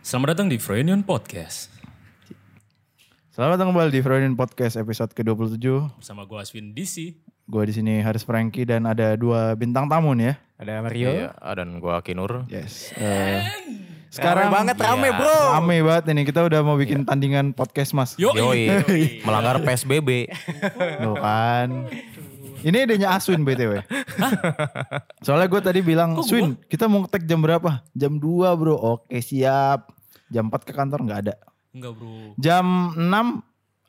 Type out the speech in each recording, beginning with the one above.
Selamat datang di Froyonion Podcast. Selamat datang kembali di Freudian Podcast episode ke-27. Bersama gue Aswin DC. Gue di sini Haris Franky dan ada dua bintang tamu nih ya. Ada Mario. Iya, ah, dan gua Kinur. Yes. eh, Rame sekarang banget rame Iya. bro. rame Iya. banget ini kita udah mau bikin tandingan podcast Mas. Yo, Yoi, melanggar PSBB. Loh kan. Ini idenya Aswin BTW. Soalnya gue tadi bilang, Kok gua? Swin kita mau tag jam berapa? Jam 2 bro, oke siap. Jam 4 ke kantor nggak ada. Enggak bro. Jam 6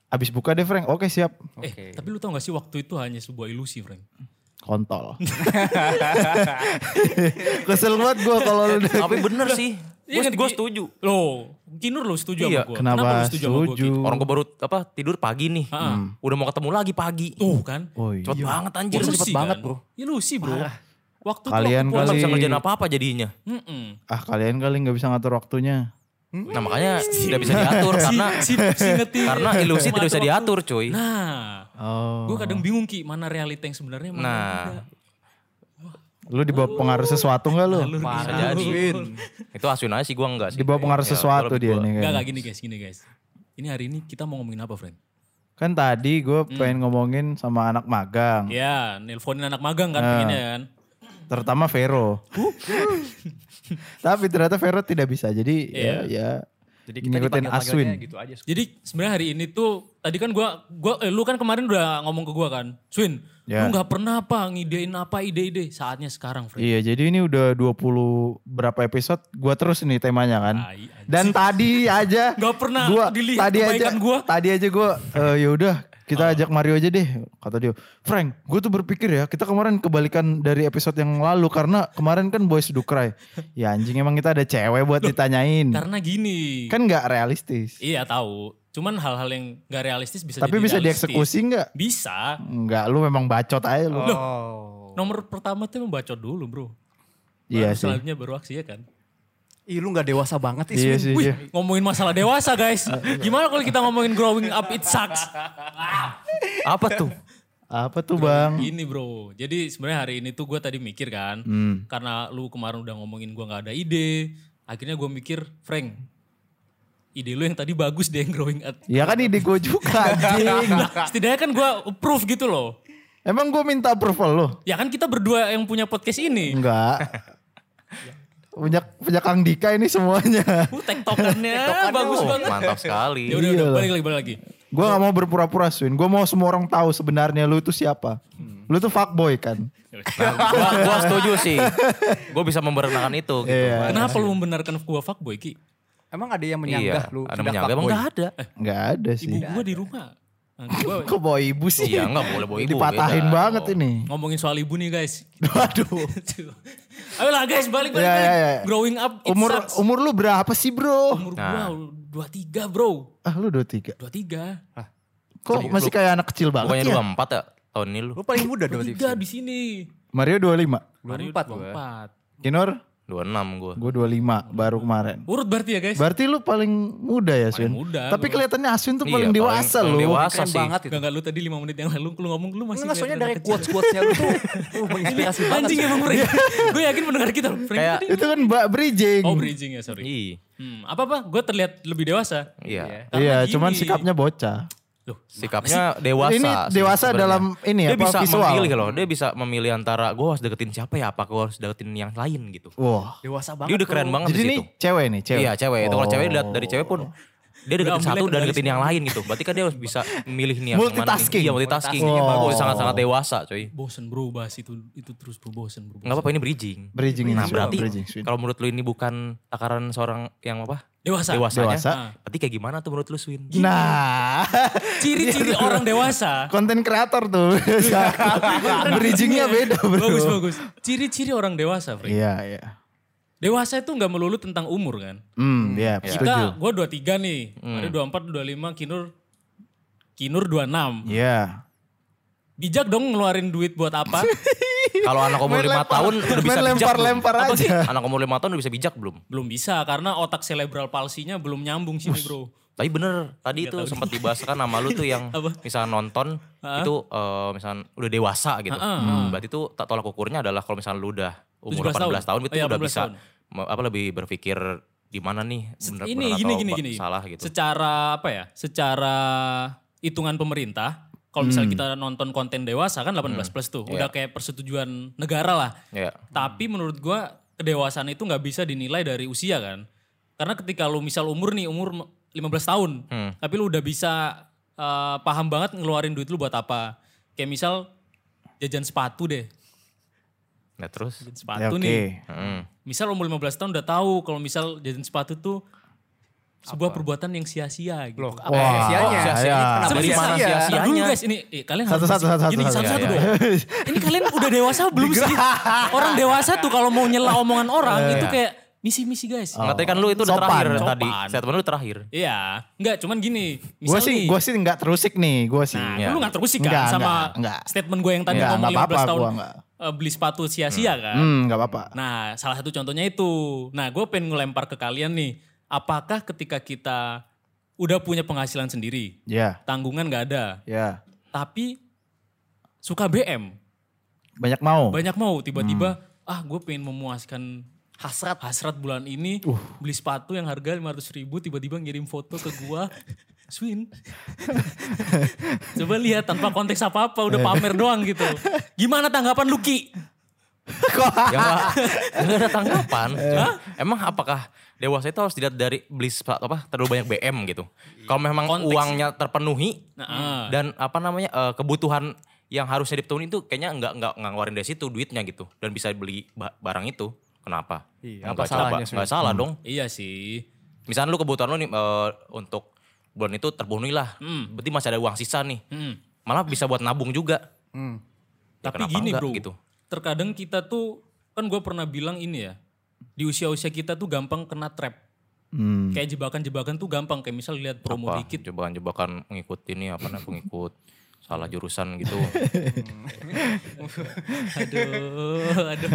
abis buka deh Frank, oke siap. Eh, tapi lu tau gak sih waktu itu hanya sebuah ilusi, Frank? Kontol. Kesel banget gue kalau lu udah Tapi bener sih. Iya Gua, kan, gua Ki? setuju. Lo, Kinur lo setuju sama Iya, gue. Kenapa, Ki? setuju? Orang gua baru apa tidur pagi nih. Ah. Udah mau ketemu lagi pagi. Tuh kan. Oh, iya. Cepet banget anjir. Ilusi Cepet kan? banget bro. kan- Ilusi bro. Waktu itu Kalian waktu puasa- Gua nggak bisa Kali- ngerjain apa-apa jadinya. Mm-mm. Ah kalian kali nggak bisa ngatur waktunya. Nah makanya tidak bisa diatur karena si, si, si ngetir. karena ilusi tidak bisa Mengatur diatur waktu. cuy. Nah, Oh. gue kadang bingung Ki, mana realita yang sebenarnya, mana Nah. enggak. Lu dibawa pengaruh sesuatu nggak lu? Lu Bisa bisa- jadi. Itu aswin aja sih gua enggak sih. Dibawa pengaruh Ya, sesuatu gua lebih dia gua- nih Enggak, kan. enggak gini guys, gini guys. Ini hari ini kita mau ngomongin apa, friend? Kan tadi gue pengen ngomongin sama anak magang, Ya, nelponin anak magang kan pengennya kan. terutama Vero. Tapi ternyata Vero tidak bisa. Jadi ya, ya Jadi ngikutin dipanggil-panggilnya Aswin. gitu aja. Jadi sebenarnya hari ini tuh tadi kan gua gua eh, lu kan kemarin udah ngomong ke gua kan. Swin, Ya. lu nggak pernah apa ngidein apa ide-ide saatnya sekarang, Fred. Iya, jadi ini udah 20 berapa episode gua terus nih temanya kan. Tai aja. Dan tadi aja Nggak pernah gua dilihat tadi aja kebaikan gua. Ah. tadi aja gua eh, ya udah kita ajak Mario aja deh kata dia. Frank, gue tuh berpikir ya kita kemarin kebalikan dari episode yang lalu karena kemarin kan Boys Do Cry. Ya anjing emang kita ada cewek buat ditanyain. Karena gini. Kan nggak realistis. Iya tahu. Cuman hal-hal yang nggak realistis bisa jadi Tapi bisa realistis. dieksekusi nggak? Bisa. Nggak, lu memang bacot aja lu. Oh. Nomor pertama tuh membaca dulu, Bro. Baru Iya sih. Selanjutnya baru aksi ya kan. Ih lu gak dewasa banget Iya sih. Wih, iya. ngomongin masalah dewasa, guys. Gimana kalau kita ngomongin growing up it sucks? Apa tuh? Apa tuh, Bang? Ini bro, jadi sebenarnya hari ini tuh gue tadi mikir kan, Hmm. karena lu kemarin udah ngomongin gue nggak ada ide, akhirnya gue mikir, Frank, ide lu yang tadi bagus deh yang growing up. Ya kan ide gue juga anjing. Lah, setidaknya kan gue approve gitu loh. Emang gue minta approval lo? Ya kan kita berdua yang punya podcast Hmm. ini, Enggak. punya punya Kang Dika ini semuanya. uh, tektokannya bagus Oh, banget. Mantap sekali. Ya udah, Iya udah, balik lagi, balik lagi. Gue gak mau berpura-pura Swin. Gue mau semua orang tahu sebenarnya lu itu siapa. Lu tuh fuckboy kan. Nah, gua, gua setuju sih. Gua bisa membenarkan itu gitu. iya. Kenapa lu membenarkan gue fuckboy, Ki? Emang ada yang Iya, menyanggah lu? ada sudah menyanggah emang fuckboy? enggak ada. Nggak Eh, ada Ibu sih. gue di rumah. Nah, gua Kok bawa ibu sih? Iya, nggak boleh bawa ibu, Dipatahin beda banget dong. ini. ngomongin soal ibu nih guys. Gitu. Waduh. Ayolah guys, balik balik. Ya, balik. ya, ya. Growing up it Umur sucks. umur lu berapa sih bro? Umur gua 23 bro. Ah lu 23. 23. Kok masih kayak anak kecil banget Bukannya ya? 24 ya tahun ini lu? Lu paling muda dong. 23 di sini. Mario 25. Mario 24 gua. 24. Kinor? 26 gua. Iya, Gue 25 baru kemarin. Urut berarti ya guys. Berarti lu paling muda ya Swin? muda, Tapi gua. kelihatannya Aswin tuh Iya, paling paling- dewasa paling lu. dewasa. Keren sih? banget itu. Enggak enggak lu tadi 5 menit yang lalu lu ngomong lu masih Enggak soalnya kelihatan dari anak quotes-quotesnya lu tuh. Uh, menginspirasi kecil. banget. Anjing emang Frank. gue yakin mendengar kita Frank Kayak- tadi. Itu kan Mbak Bridging. Oh bridging ya sorry. Iya. Hmm, apa apa? Gue terlihat lebih dewasa. Iya. Karena iya, gini. cuman sikapnya bocah. Loh, Sikapnya dewasa. Ini sih dewasa sebenarnya. dalam ini ya, Dia apa, bisa visual? memilih loh. Dia bisa memilih antara gua harus deketin siapa ya, apa gua harus deketin yang lain gitu. Wah. Dewasa banget. Dia udah keren banget Jadi di ini situ. cewek nih, cewek. Iya cewek. Itu kalau cewek lihat dari cewek pun dia deketin Ambilnya satu dan kendali deketin yang lain gitu. Berarti kan dia harus bisa milih nih yang Multitasking. mana. nih. Iya multitasking. Multitasking. Bagus, Wow. Sangat-sangat dewasa coy. bosen bro bahas itu itu terus bro bosen bro. Gak apa-apa ini bridging. Bridging ini Nah Swin, berarti bridging, Swin. kalau menurut lu ini bukan takaran seorang yang apa? Dewasa. Dewasanya. Dewasa. Ah. Berarti kayak gimana tuh menurut lu Swin? Nah, Ciri-ciri orang dewasa. konten kreator tuh. Bridgingnya beda bro. Bagus bagus. Ciri-ciri orang dewasa, Frank. Iya, iya. Dewasa itu nggak melulu tentang umur kan. Hmm, iya, setuju. Kita, gue 23 nih, Hmm. ada 24, 25, Kinur, Kinur 26. Iya. Bijak dong ngeluarin duit buat apa? Kalau anak umur Main lima lempar- tahun udah bisa main bijak belum? lempar-lempar Apa aja. sih? Anak umur lima tahun udah bisa bijak belum? belum bisa karena otak cerebral palsinya belum nyambung sini bro. Tapi bener tadi itu sempat dibahas kan sama lu tuh yang misalnya nonton itu eh, misalnya udah dewasa gitu. Hmm, Berarti itu tak tolak ukurnya adalah kalau misalnya lu udah umur 17 18 tahun, tahun itu Oh iya, udah 18 bisa tahun. me- apa lebih berpikir di mana nih bener, ini bener gini atau gini ba- gini salah gitu. secara apa ya secara hitungan pemerintah kalau Hmm. misalnya kita nonton konten dewasa kan 18 plus tuh udah kayak persetujuan negara lah Iya. tapi menurut gua kedewasaan itu nggak bisa dinilai dari usia kan karena ketika lu misal umur nih umur 15 tahun Hmm. tapi lu udah bisa eh, paham banget ngeluarin duit lu buat apa kayak misal jajan sepatu deh Nah terus, jajan Ya, sepatu Oke. nih hmm, Misal umur 15 tahun udah tahu kalau misal jajan sepatu tuh sebuah perbuatan yang sia-sia gitu. Loh, apa Wah, sia-sianya? oh, sia-sia. Kenapa Dari Sebisa- mana sia-sia? sia-sia? Ntar dulu guys, ini eh, kalian harus Satu-satu, bersih. satu-satu, Gini, satu-satu. satu-satu dong. Ini kalian udah dewasa belum sih? Orang dewasa tuh kalau mau nyela omongan orang Iya, itu kayak misi-misi guys. Nggak, tadi kan lu itu udah Oh. Sopan. terakhir Sopan. tadi. Statement lu terakhir. Iya, enggak cuman gini. Gue misal sih nih- gue sih nggak terusik nih gue sih. Nah, Iya. lu gak terusik kan Enggak, sama enggak, enggak. statement gue yang tadi Iya, ngomong enggak apa-apa 15 tahun gua enggak. eh, beli sepatu sia-sia kan. Hmm nggak apa-apa. Nah, salah satu contohnya itu. Nah, gue pengen ngelempar ke kalian nih. Apakah ketika kita udah punya penghasilan sendiri, Ya tanggungan nggak ada, ya tapi suka BM, banyak mau. banyak mau tiba-tiba, ah gue pengen memuaskan hasrat hasrat bulan ini beli sepatu yang harga 500 ribu tiba-tiba ngirim foto ke gua Swin coba lihat tanpa konteks apa apa udah pamer doang gitu gimana tanggapan Lucky ya enggak, enggak ada tanggapan. Eh. Hah? Emang apakah dewasa itu harus dilihat dari beli sep- apa terlalu banyak BM gitu. Kalau memang Konteks. uangnya terpenuhi Nah, dan apa namanya eh, kebutuhan yang harusnya dipenuhi itu kayaknya enggak enggak enggak ngeluarin dari situ duitnya gitu dan bisa beli ba- barang itu. Kenapa? Enggak Iya, apa salah, salahnya, enggak salah dong. iya sih Misalnya lu kebutuhan lu nih eh, untuk bulan itu terpenuhi lah. Hmm. Berarti masih ada uang sisa nih. Mm. Malah bisa buat nabung juga. Hmm. Ya, Tapi kenapa gini enggak bro, gitu? terkadang kita tuh kan gue pernah bilang ini ya, di usia-usia kita tuh gampang kena trap. Hmm. Kayak jebakan-jebakan tuh gampang. Kayak misal lihat promo apa dikit, jebakan-jebakan pengikut ini apa namanya pengikut salah jurusan gitu aduh, aduh, aduh.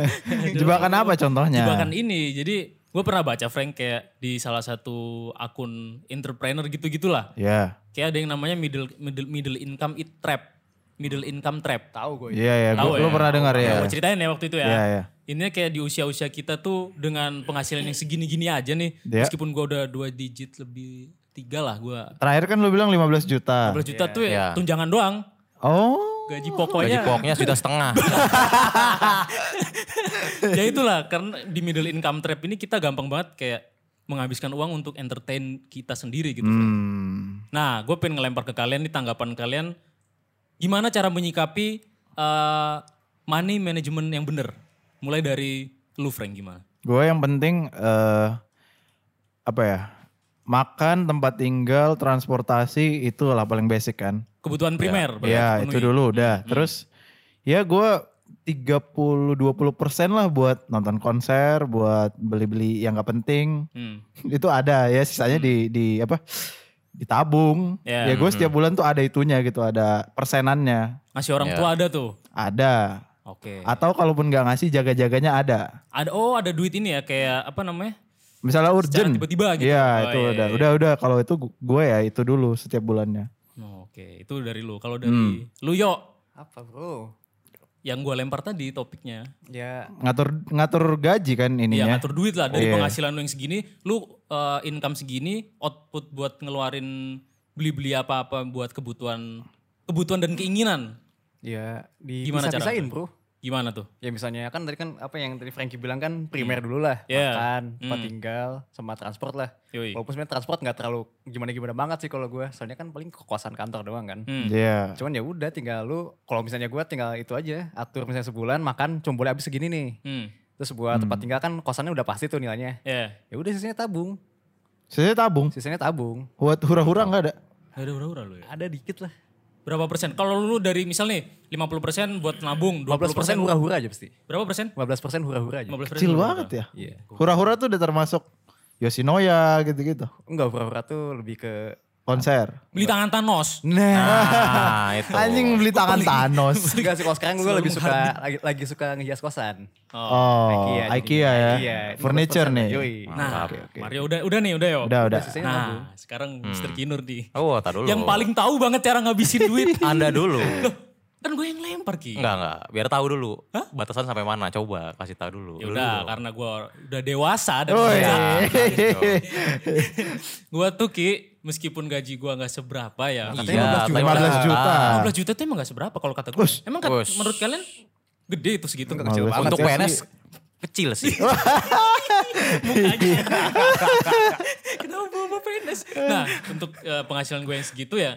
Jebakan apa contohnya? Jebakan ini. Jadi gue pernah baca Frank kayak di salah satu akun entrepreneur gitu-gitulah. Ya Kayak ada yang namanya middle middle middle income it trap, middle income trap. Tahu gue. ya ya. Tahu Gue ya? pernah dengar ya. Gue ceritain ya waktu itu ya. Ya ya. Ini kayak di usia-usia kita tuh dengan penghasilan yang segini-gini aja nih. Iya. Meskipun gua udah dua digit lebih tiga lah gua. Terakhir kan lu bilang 15 juta. 15 juta tuh ya Iya. tunjangan doang. Oh. Gaji gaji pokoknya. pokoknya sudah setengah ya itulah karena di middle income trap ini kita gampang banget kayak menghabiskan uang untuk entertain kita sendiri gitu. Hmm. Nah gue pengen ngelempar ke kalian nih tanggapan kalian. Gimana cara menyikapi eh, money management yang bener? Mulai dari lu Frank gimana? Gue yang penting eh apa ya? Makan, tempat tinggal, transportasi itulah paling basic kan. Kebutuhan primer. berarti Ya terpenuhi. itu dulu udah. Terus ya gue 30-20 persen lah buat nonton konser, buat beli-beli yang gak penting. Hmm. itu ada ya sisanya di di apa ditabung. Ya, Ya gue setiap bulan tuh ada itunya gitu, ada persenannya. Ngasih orang Ya. tua ada tuh. Ada. Oke. Atau kalaupun gak ngasih jaga-jaganya ada. Ada oh ada duit ini ya kayak apa namanya? Misalnya Secara urgent. tiba-tiba gitu. Iya, Oh, itu iya, udah. iya. Udah, udah kalau itu gue ya itu dulu setiap bulannya. Oh, Oke, itu dari lu. Kalau Hmm. dari lu yo Apa bro? yang gua lempar tadi topiknya. Ya Ngatur ngatur gaji kan Iya, ininya. ngatur duit lah dari Iya. penghasilan lu yang segini, lu eh, income segini, output buat ngeluarin beli-beli apa-apa buat kebutuhan kebutuhan dan keinginan. ya Gimana cara? dipisah-pisahin bro. Gimana tuh? Ya misalnya kan tadi kan apa yang tadi Frankie bilang kan primer dulu lah. Iya. Makan, tempat tinggal, sama transport lah. Yoi. Walaupun sebenarnya transport nggak terlalu gimana-gimana banget sih kalau gue. Soalnya kan paling kekuasaan kantor doang kan. Hmm. Iya. Cuman ya udah tinggal lu kalau misalnya gue tinggal itu aja atur misalnya sebulan makan cuma boleh habis segini nih. Hmm. Terus buat tempat tinggal kan kosannya udah pasti tuh nilainya. Ya. Ya udah sisanya tabung. Sisanya tabung. Sisanya tabung. Buat hura-hura nggak ada. Ada ura-ura lu ya. Ada dikit lah. Berapa persen? Kalau lu dari misal nih 50% buat nabung, 20% 15 persen hura-hura aja pasti. berapa persen? 15 persen hura-hura aja. 15% Kecil berapa? banget ya. Iya. Hura-hura tuh udah termasuk Yoshinoya gitu-gitu. Enggak hura-hura tuh lebih ke Konser. Beli tangan Thanos. Nah, nah itu anjing beli tangan Thanos. Enggak sih kalau sekarang gue Sebelum lebih suka lagi, lagi suka ngehias kosan. Oh, IKEA, IKEA, ya. Iya, 15% Furniture nih. Yoi. Nah, Mario udah udah nih, udah yo. Udah, Hmm. udah. Sisanya Nah, tabung. sekarang Mr. Kinur nih. oh tar dulu Yang paling tahu banget cara ngabisin duit. anda dulu Kan gue yang lempar Ki. Enggak, enggak. Biar tahu dulu. Batasan sampai mana? Coba kasih tahu dulu. Ya Lu udah dulu. karena gue udah dewasa dan Woi. gue tuh Ki meskipun gaji gue nggak seberapa ya. Iya, 15 juta. 15 juta tuh emang gak seberapa kalau kata gue. Us. Emang kat- Us. menurut kalian gede itu segitu? Enggak kecil Males. banget. Untuk ya. PNS kecil sih. Kenapa bawa PNS? Nah untuk eh, penghasilan gue yang segitu ya.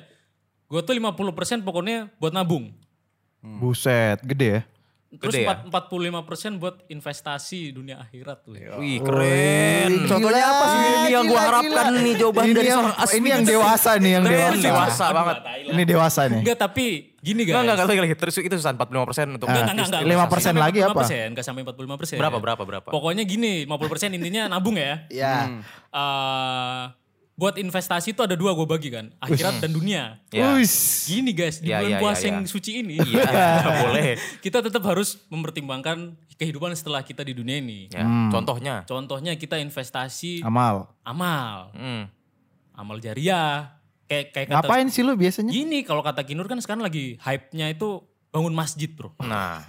Gue tuh 50% pokoknya buat nabung. Buset, gede ya. Terus Gede ya? empat- 45% buat investasi dunia akhirat. tuh. Wih keren. Wih, Contohnya Hmm. gila, apa sih ini yang gue gila, harapkan gila. nih jawaban Ini dari yang- seorang asli. Ini yang dewasa nih, yang Keren, dewasa. dewasa banget. Ini dewasa nih. Enggak tapi gini guys. Enggak, enggak, enggak, lagi. Terus itu susah 45 persen untuk. Enggak, enggak, enggak. 5% Enggak lagi sampai apa? 45%, Enggak sampai 45%. Berapa, berapa, berapa? Pokoknya gini, 50% intinya nabung ya. Ya. Eh, buat investasi itu ada dua gue bagi kan. Akhirat dan dunia. Ya. Wis. Gini guys, di Ya, bulan ya, ya, puasa yang ya. suci ini. Iya, boleh. Kita tetap harus mempertimbangkan kehidupan setelah kita di dunia ini. Ya, Contohnya. Contohnya kita investasi Amal. amal. Hmm. Amal jariah. Kayak, kayak kata Ngapain sih lu biasanya? Gini kalau kata Kinur kan sekarang lagi hype-nya itu bangun masjid bro. Nah,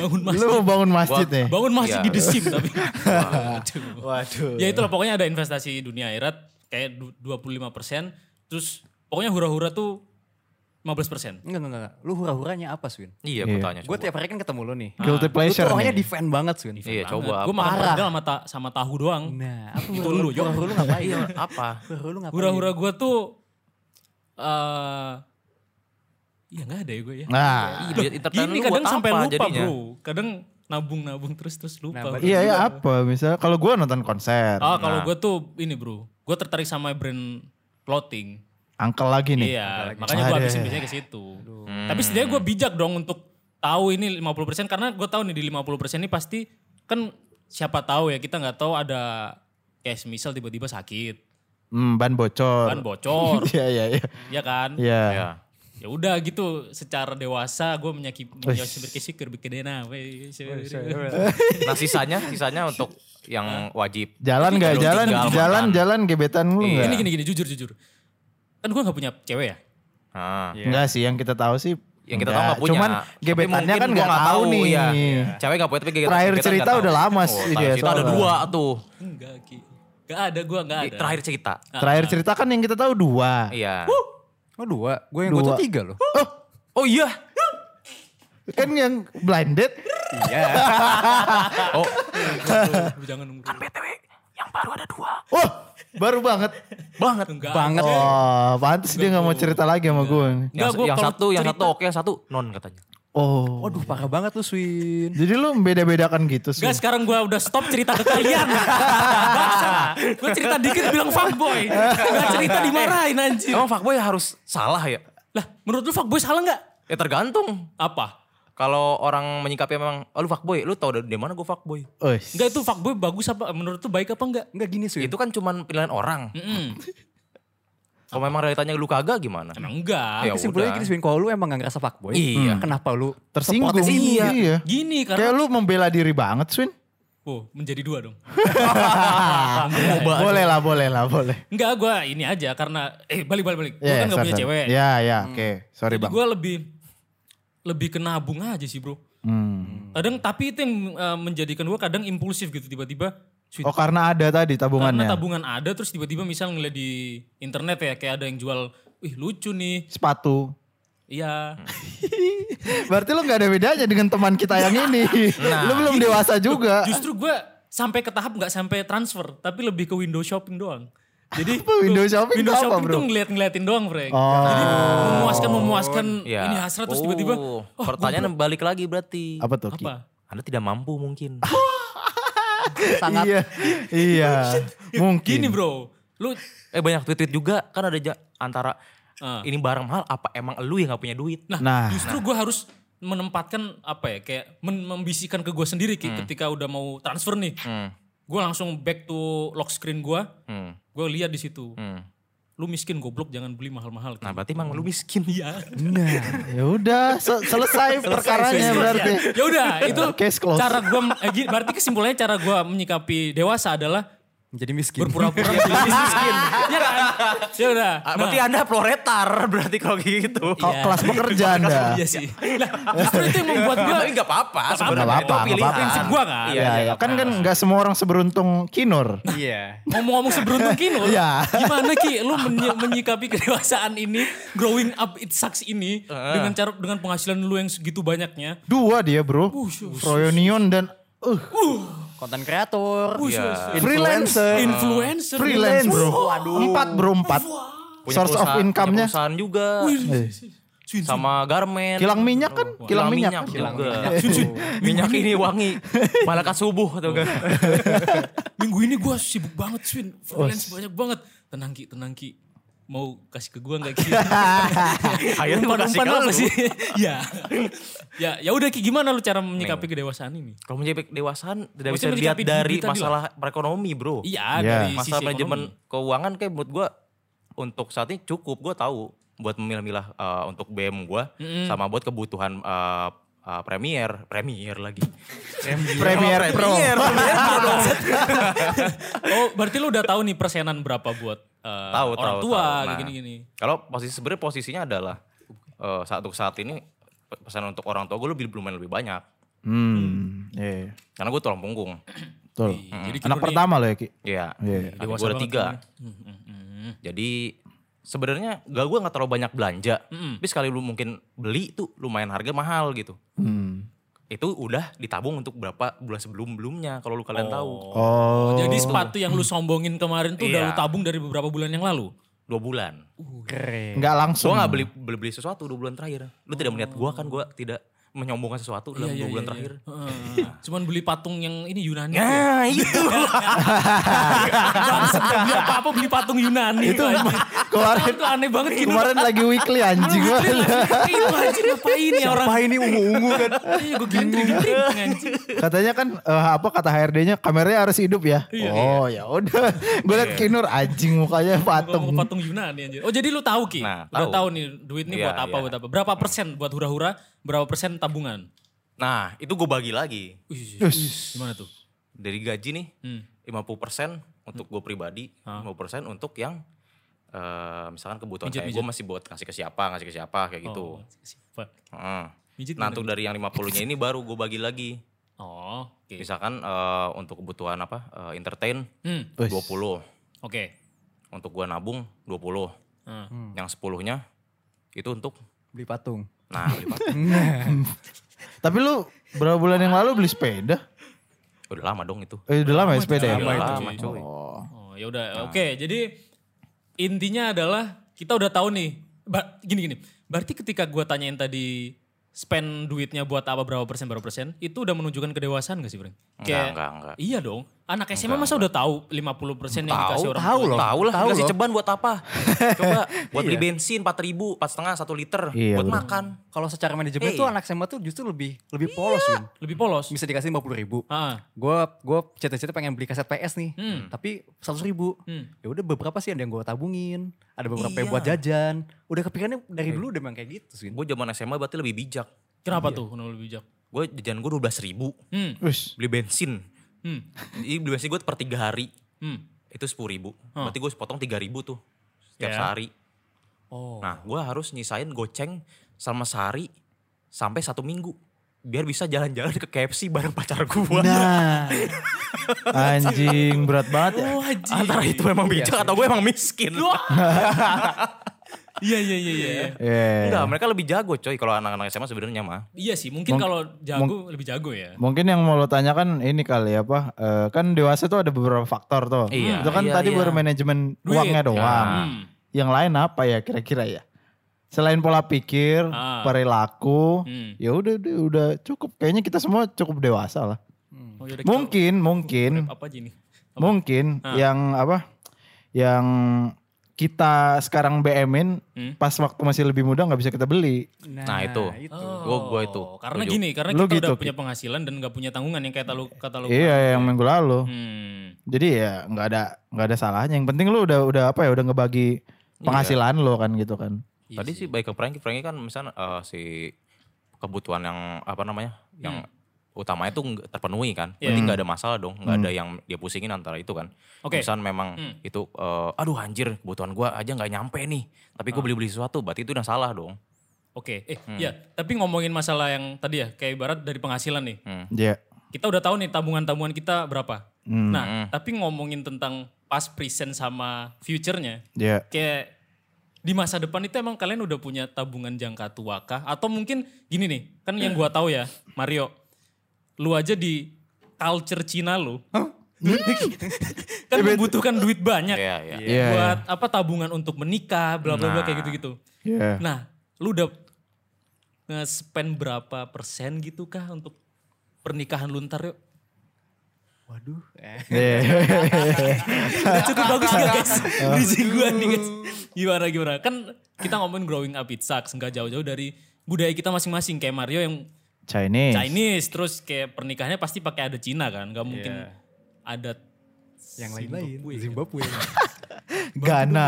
Bangun Lu masjid. mau bangun masjid Gua- nih? Bangun masjid Iya. di desim tapi. Aduh. Waduh. Ya itulah pokoknya ada investasi dunia akhirat kayak du- 25%. Terus pokoknya hura-hura tuh 15%. Enggak, enggak, enggak. Lu hura-huranya apa, Swin? iya gue tanya. Gue tiap hari kan ketemu lu nih. Guilty Lu pleasure tuh orangnya nih. defend banget, Swin. Iya, Gue Nah, coba. apa. makan Parah. perkedel sama, ta- sama tahu doang. Nah, apa Itu hura-hura- lu, Jok. Hura-hura lu ngapain? Iya, apa? Hura-hura lu ngapain? Hura-hura gue tuh... eh ya gak ada ya gue ya. Nah. Iya, Loh, budget entertain Gini lu kadang buat sampai apa lupa jadinya? bro. Kadang nabung-nabung terus-terus lupa. Nah, bro. Iya, ya apa? Misalnya kalau gua nonton konser, Oh. Ah kalau Nah. gue tuh ini bro. Gue tertarik sama brand clothing. angkel lagi nih. Iya, makanya gue habisin biasanya ke situ. Tapi setidaknya gue bijak dong untuk tahu ini 50% karena gue tahu nih di 50% ini pasti kan siapa tahu ya kita nggak tahu ada kayak semisal tiba-tiba sakit, Hmm, ban bocor. ban bocor, Iya, iya, iya. ya kan? Iya. Ya. Ya udah gitu secara dewasa gue menyakiti berkesikir berkedena. weh, Nah, sisanya, sisanya untuk yang Iya. wajib. Jalan nggak Belum jalan, tinggal jalan, makan. Iya, jalan gebetan lu Ini nggak? gini gini jujur jujur. Kan gue nggak punya cewek ya. Nah. Enggak sih, yang kita tahu sih. Yang kita tahu nggak punya. Cuman Tapi gebetannya mungkin kan gua nggak tahu nih. Iya. Cewek nggak punya tapi gebetan Terakhir gebetan cerita nggak udah tahu. lama Oh, sih terakhir dia cerita ada soalnya. dua tuh. Enggak, Ki. Gak ada, gue gak Di- ada. Terakhir cerita. Terakhir cerita kan yang kita tahu dua. Iya. Oh dua, gue yang gue tuh Dua. tiga loh. Oh, Oh iya. kan yang blinded. Iya. Oh, Aduh, Jangan nunggu. BTW yang baru ada dua. Oh, baru banget. Banget. Enggak. Banget. Oh, pantas dia nggak mau cerita lagi sama gue. Enggak, Yang, gua yang kalau satu, yang cerita- satu oke, yang satu non katanya. Oh. Waduh parah banget lu Swin. Jadi lu beda-bedakan gitu sih. Gak sekarang gue udah stop cerita ke kalian. gue cerita dikit bilang fuckboy. Gak cerita dimarahin anjir. Emang fuckboy harus salah ya? Lah menurut lu fuckboy salah gak? Ya tergantung. Apa? Kalau orang menyikapi memang, oh lu fuckboy, lu tau dari mana gue fuckboy. Oh, Enggak itu fuckboy bagus apa? Menurut lu baik apa enggak? Enggak gini Iya. Swin. Itu kan cuman pilihan orang. Mm-mm. Kalau memang realitanya lu kagak gimana? Emang enggak. Ya Kesimpulannya udah. gini Swin, kalau lu emang gak ngerasa fuckboy. Iya. hmm, Kenapa lu? tersinggung. Sepotes ini ya. Iya. Gini Kayak karena lu membela diri banget, Swin. Oh, menjadi dua dong. Iya, boleh lah, boleh lah, boleh. Enggak gue ini aja karena eh balik balik balik. Gue Ya, kan gak sorry, punya sorry. cewek. Hmm. Ya, ya, oke. Sorry, Bang. Gue lebih lebih ke nabung aja sih bro. Hmm. Kadang tapi itu yang eh, menjadikan gue kadang impulsif gitu tiba-tiba. "Cuy, Oh, karena ada tadi tabungannya. Karena tabungan ada terus tiba-tiba misal ngeliat di internet ya kayak ada yang jual, wih lucu nih. Sepatu. Iya. Hmm. Berarti lu nggak ada bedanya dengan teman kita yang ini. lu belum dewasa Nah. juga. Justru gue sampai ke tahap nggak sampai transfer, tapi lebih ke window shopping doang. Jadi Apa window shopping window tuh apa, shopping bro? tuh ngeliat-ngeliatin doang, Frank. Oh. Jadi memuaskan memuaskan Ya. ini hasrat terus tiba-tiba Oh, "Wah, gua pertanyaan balik lagi berarti. Apa tuh, Ki? apa? Anda tidak mampu mungkin. Sangat. Iya. iya. Mungkin. Gini bro, lu eh banyak tweet-tweet juga kan ada ja- antara Ah. ini barang mahal apa emang lu yang gak punya duit? nah, Nah. justru gue harus menempatkan apa ya kayak men- membisikkan ke gue sendiri Ki, ketika udah mau transfer nih, Hmm. gue langsung back to lock screen gue, Hmm. gue lihat di situ, Hmm. lu miskin goblok jangan beli mahal-mahal. Nah berarti emang lu miskin. Iya. Nah, ya udah se- selesai Iya. perkaranya berarti. iya. ya udah itu Case eh, closed. cara gue berarti kesimpulannya cara gue menyikapi dewasa adalah Menjadi miskin. berpura-pura menjadi miskin. Iya kan? Ya udah. Ah, berarti Anda proletar berarti kalau gitu. Kau Iya. kelas pekerja anda. Iya sih. Lah, justru itu yang membuat gua Tapi nggak apa-apa. sebenarnya. Nggak apa-apa, Itu nggak apa-apa. pilihan. Prinsip gua kan. Iya, Iya, iya. iya. kan kan nggak semua orang seberuntung Kinur. Iya. ngomong-ngomong seberuntung Kinur. Iya. Gimana Ki lu menyi- menyikapi kedewasaan ini, growing up it sucks ini dengan cara dengan penghasilan lu yang segitu banyaknya. Dua dia bro. Froyonion dan uh, Konten kreator. Wush, Iya. wush, freelancer. Influencer. Freelance bro. Waduh. Empat bro empat. Punya Source of perusahaan- income-nya. punya Perusahaan juga. Sama garmen. Kilang minyak kan? Kilang minyak. Kilang Kilang minyak. minyak. juga. minyak ini wangi. Malaikat subuh kan. atau enggak. Iya. Minggu ini gua sibuk banget Swin. Freelance banyak banget. Tenang Ki, tenang Ki. Mau kasih ke gua gak Ki? Akhirnya gua kasih Umpan-umpan ke apa lu. sih? ya. Ya, ya udah Ki gimana lu cara menyikapi kedewasaan ini? Kalau menjadi dewasaan tidak bisa Maksudnya dilihat menyikapi dari diri tadi masalah perekonomi Iya, bro. Iya. dari sisi Masalah manajemen ekonomi. keuangan kayak menurut gue untuk saat ini cukup gue tahu buat memilah-milah eh, untuk BM gue sama buat kebutuhan eh, eh, premier premier lagi Premier Sama Pro. Premier, Premier Pro dong. Oh, berarti lu udah tahu nih persenan berapa buat eh, tahu orang tahu, tua tahu. kayak Nah, gini-gini. kalau posisi sebenarnya posisinya adalah eh, saat untuk saat ini pe- pesan untuk orang tua gue lebih belum lebih banyak Hmm. Iya. iya. karena gue tulang punggung Betul. Jadi Anak Kinur nih- pertama loh ya Ki. Iya. Iya, iya. adik gue ada tiga Hmm, hmm, hmm. Jadi sebenarnya gak gue nggak terlalu banyak belanja. Hmm, Tapi sekali lu mungkin beli tuh lumayan harga mahal gitu. Hmm. Itu udah ditabung untuk berapa bulan sebelum-belumnya kalau lu kalian tahu. Oh. Jadi sepatu yang lu sombongin kemarin tuh udah Nah. Iya. lu tabung dari beberapa bulan yang lalu. Dua bulan. Uh. Keren. Nggak Gue langsung. nggak beli, beli beli sesuatu dua bulan terakhir. Lu tidak melihat gue kan gue tidak menyombongkan sesuatu dalam Iya, iya, dua bulan iya, terakhir. iya. Heeh. Cuman beli patung yang ini Yunani. tuh ya. Nah itu. Bangsat, nggak beli apa-apa beli patung Yunani. Itu anjing. kemarin- Itu aneh banget gitu. Kemarin lagi weekly anjing. Itu anjing ngapain ya orang. Wah ini ungu-ungu kan. Iya gue gentri-gentri anjing. Katanya kan eh, apa kata HRD-nya kameranya harus hidup ya. oh ya udah. Gue liat Kinur anjing mukanya Patung. patung. patung Yunani anjir. Oh jadi lu tahu Ki? Nah, Udah tahu. tahu nih duit nih Iya, buat apa iya. buat apa. Berapa persen buat hura-hura, berapa persen tabungan? Nah itu gue bagi lagi Wih, Us. Gimana tuh? dari gaji nih Hmm. Ah. 50% untuk gue pribadi, 50% untuk yang eh, misalkan kebutuhan Mijit, kayak gue masih buat ngasih ke siapa, ngasih ke siapa kayak gitu. Oh, siapa? Heeh. Mijit Nah, untuk dari yang 50-nya ini baru gue bagi lagi. Oh, oke. Misalkan eh, untuk kebutuhan apa? eh, entertain Hmm, 20. oke. Untuk gue nabung 20. Nah, Yang 10-nya itu untuk Beli patung. nah beli patung. Tapi lu berapa bulan yang lalu beli sepeda? udah lama dong itu. Eh, udah lama ya sepeda ya? Udah lama, cuy. cuy. Oh. Oh, ya udah. Oke, jadi intinya adalah kita udah tahu nih. Ba- gini gini. Berarti ketika gua tanyain tadi spend duitnya buat apa berapa persen berapa persen, itu udah menunjukkan kedewasaan gak sih, Bro? Enggak, enggak, enggak. Iya dong. Anak SMA masa udah tahu 50 persen yang dikasih orang tahu tua. loh. Iya. Tahu lah, dikasih ceban buat apa? Coba buat beli bensin 4000, 4,5 1 liter Iya, buat bener. makan. Kalau secara manajemen Iya. tuh anak SMA tuh justru lebih lebih polos Win. Lebih polos. Bisa dikasih 50 ribu. Ah, Gue gue cita-cita pengen beli kaset PS nih, tapi 100 ribu. Ya udah beberapa sih ada yang gue tabungin, ada beberapa Iya. yang buat jajan. Udah kepikirannya dari dulu udah memang kayak gitu sih. Gue zaman SMA berarti lebih bijak. kenapa Iya. tuh? Kenapa lebih bijak? Gue jajan gue 12 ribu. Hmm. Wis. Beli bensin. Hmm. Jadi beli bensin gue per 3 hari. Hmm. Itu 10 ribu. Berarti gue potong 3 ribu tuh. Setiap Ya. sehari. Oh. Nah gue harus nyisain goceng selama sehari sampai satu minggu. Biar bisa jalan-jalan ke KFC bareng pacar gue. Nah. Anjing berat banget ya. Ah, Antara itu emang bijak atau gue emang miskin. Iya iya iya iya. Iya. Enggak, mereka lebih jago coy kalau anak-anak SMA sebenarnya mah. Iya sih, mungkin kalau jago lebih jago ya. Mungkin yang mau lo tanyakan ini kali apa? eh, kan dewasa tuh ada beberapa faktor tuh. Iya, Itu kan iya, tadi iya. Ah. baru manajemen Duit. uangnya doang. Yang lain apa ya kira-kira ya? Selain pola pikir, Ah. perilaku, Hmm. ya udah udah udah cukup. Kayaknya kita semua cukup dewasa lah. Hmm. Oh, yaudah, kita Mungkin, mungkin apa aja nih? mungkin Ah. yang apa yang kita sekarang BM-in Hmm. pas waktu masih lebih muda nggak bisa kita beli Nah, itu. Oh. Gue gue itu. Gitu. Karena Setuju. gini, karena Lu kita gitu, udah punya penghasilan dan gak punya tanggungan yang kayak lu kata lu. iya yang minggu lalu Hmm. jadi ya nggak ada nggak ada salahnya yang penting lu udah udah apa ya udah Iya. ngebagi penghasilan lo kan gitu kan Tadi sih baik ke Franky, Franky kan misalnya eh, si kebutuhan yang apa namanya, yang utamanya tuh nggak terpenuhi kan. Iya. Berarti nggak ada masalah dong, nggak ada yang dia pusingin antara itu kan. Oke. Misalnya memang itu, eh, aduh anjir kebutuhan gua aja nggak nyampe nih. Tapi gue beli-beli sesuatu, berarti itu udah salah dong. Oke, eh ya, tapi ngomongin masalah yang tadi ya, kayak ibarat dari penghasilan nih. Iya. Hmm. Kita udah tahu nih tabungan-tabungan kita berapa. Nah, tapi ngomongin tentang past present sama future-nya, Iya. kayak di masa depan itu emang kalian udah punya tabungan jangka tua kah? Atau mungkin gini nih, kan yang gua tahu ya, Mario, lu aja di culture Cina lu, Hmm. kan membutuhkan duit banyak Iya, iya. Iya, iya. buat apa tabungan untuk menikah, bla bla bla kayak gitu-gitu. Iya. Nah, lu udah nge-spend berapa persen gitu kah untuk pernikahan lu ntar yuk? Waduh. Eh. Iya. Udah cukup bagus gak guys? Bridging gua nih guys. Gimana gimana? Kan kita ngomongin growing up it sucks. Nggak jauh-jauh dari budaya kita masing-masing. Kayak Mario yang Chinese. Chinese. Terus kayak pernikahannya pasti pakai ada Cina kan. Gak mungkin adat. Yang lain-lain. Zimbabwe. Ghana.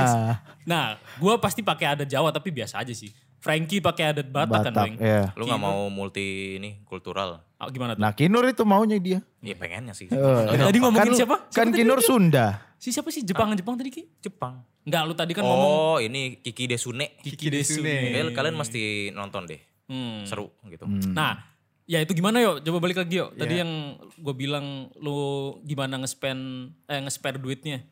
Nah, gua pasti pakai adat Jawa tapi biasa aja sih. Frankie pakai adat Batak, kan Batak. Bang? Iya. Lu nggak mau multi ini kultural? Ah, gimana tuh? Nah Kinur itu maunya dia. Iya pengennya sih. Tadi ngomongin Kan- siapa? Siapa Kan Ah. tadi? Kinur Sunda. Si siapa sih Jepang-Jepang tadi Ki? Jepang. Enggak, lu tadi kan ngomong Oh ini Kiki Desune. Kiki Desune. Kayaknya kalian mesti nonton deh. Iya. Hmm. Seru gitu. Nah, ya itu gimana yuk? Coba balik lagi yuk. Tadi yang gue bilang lu gimana nge-spend, eh nge-spare duitnya.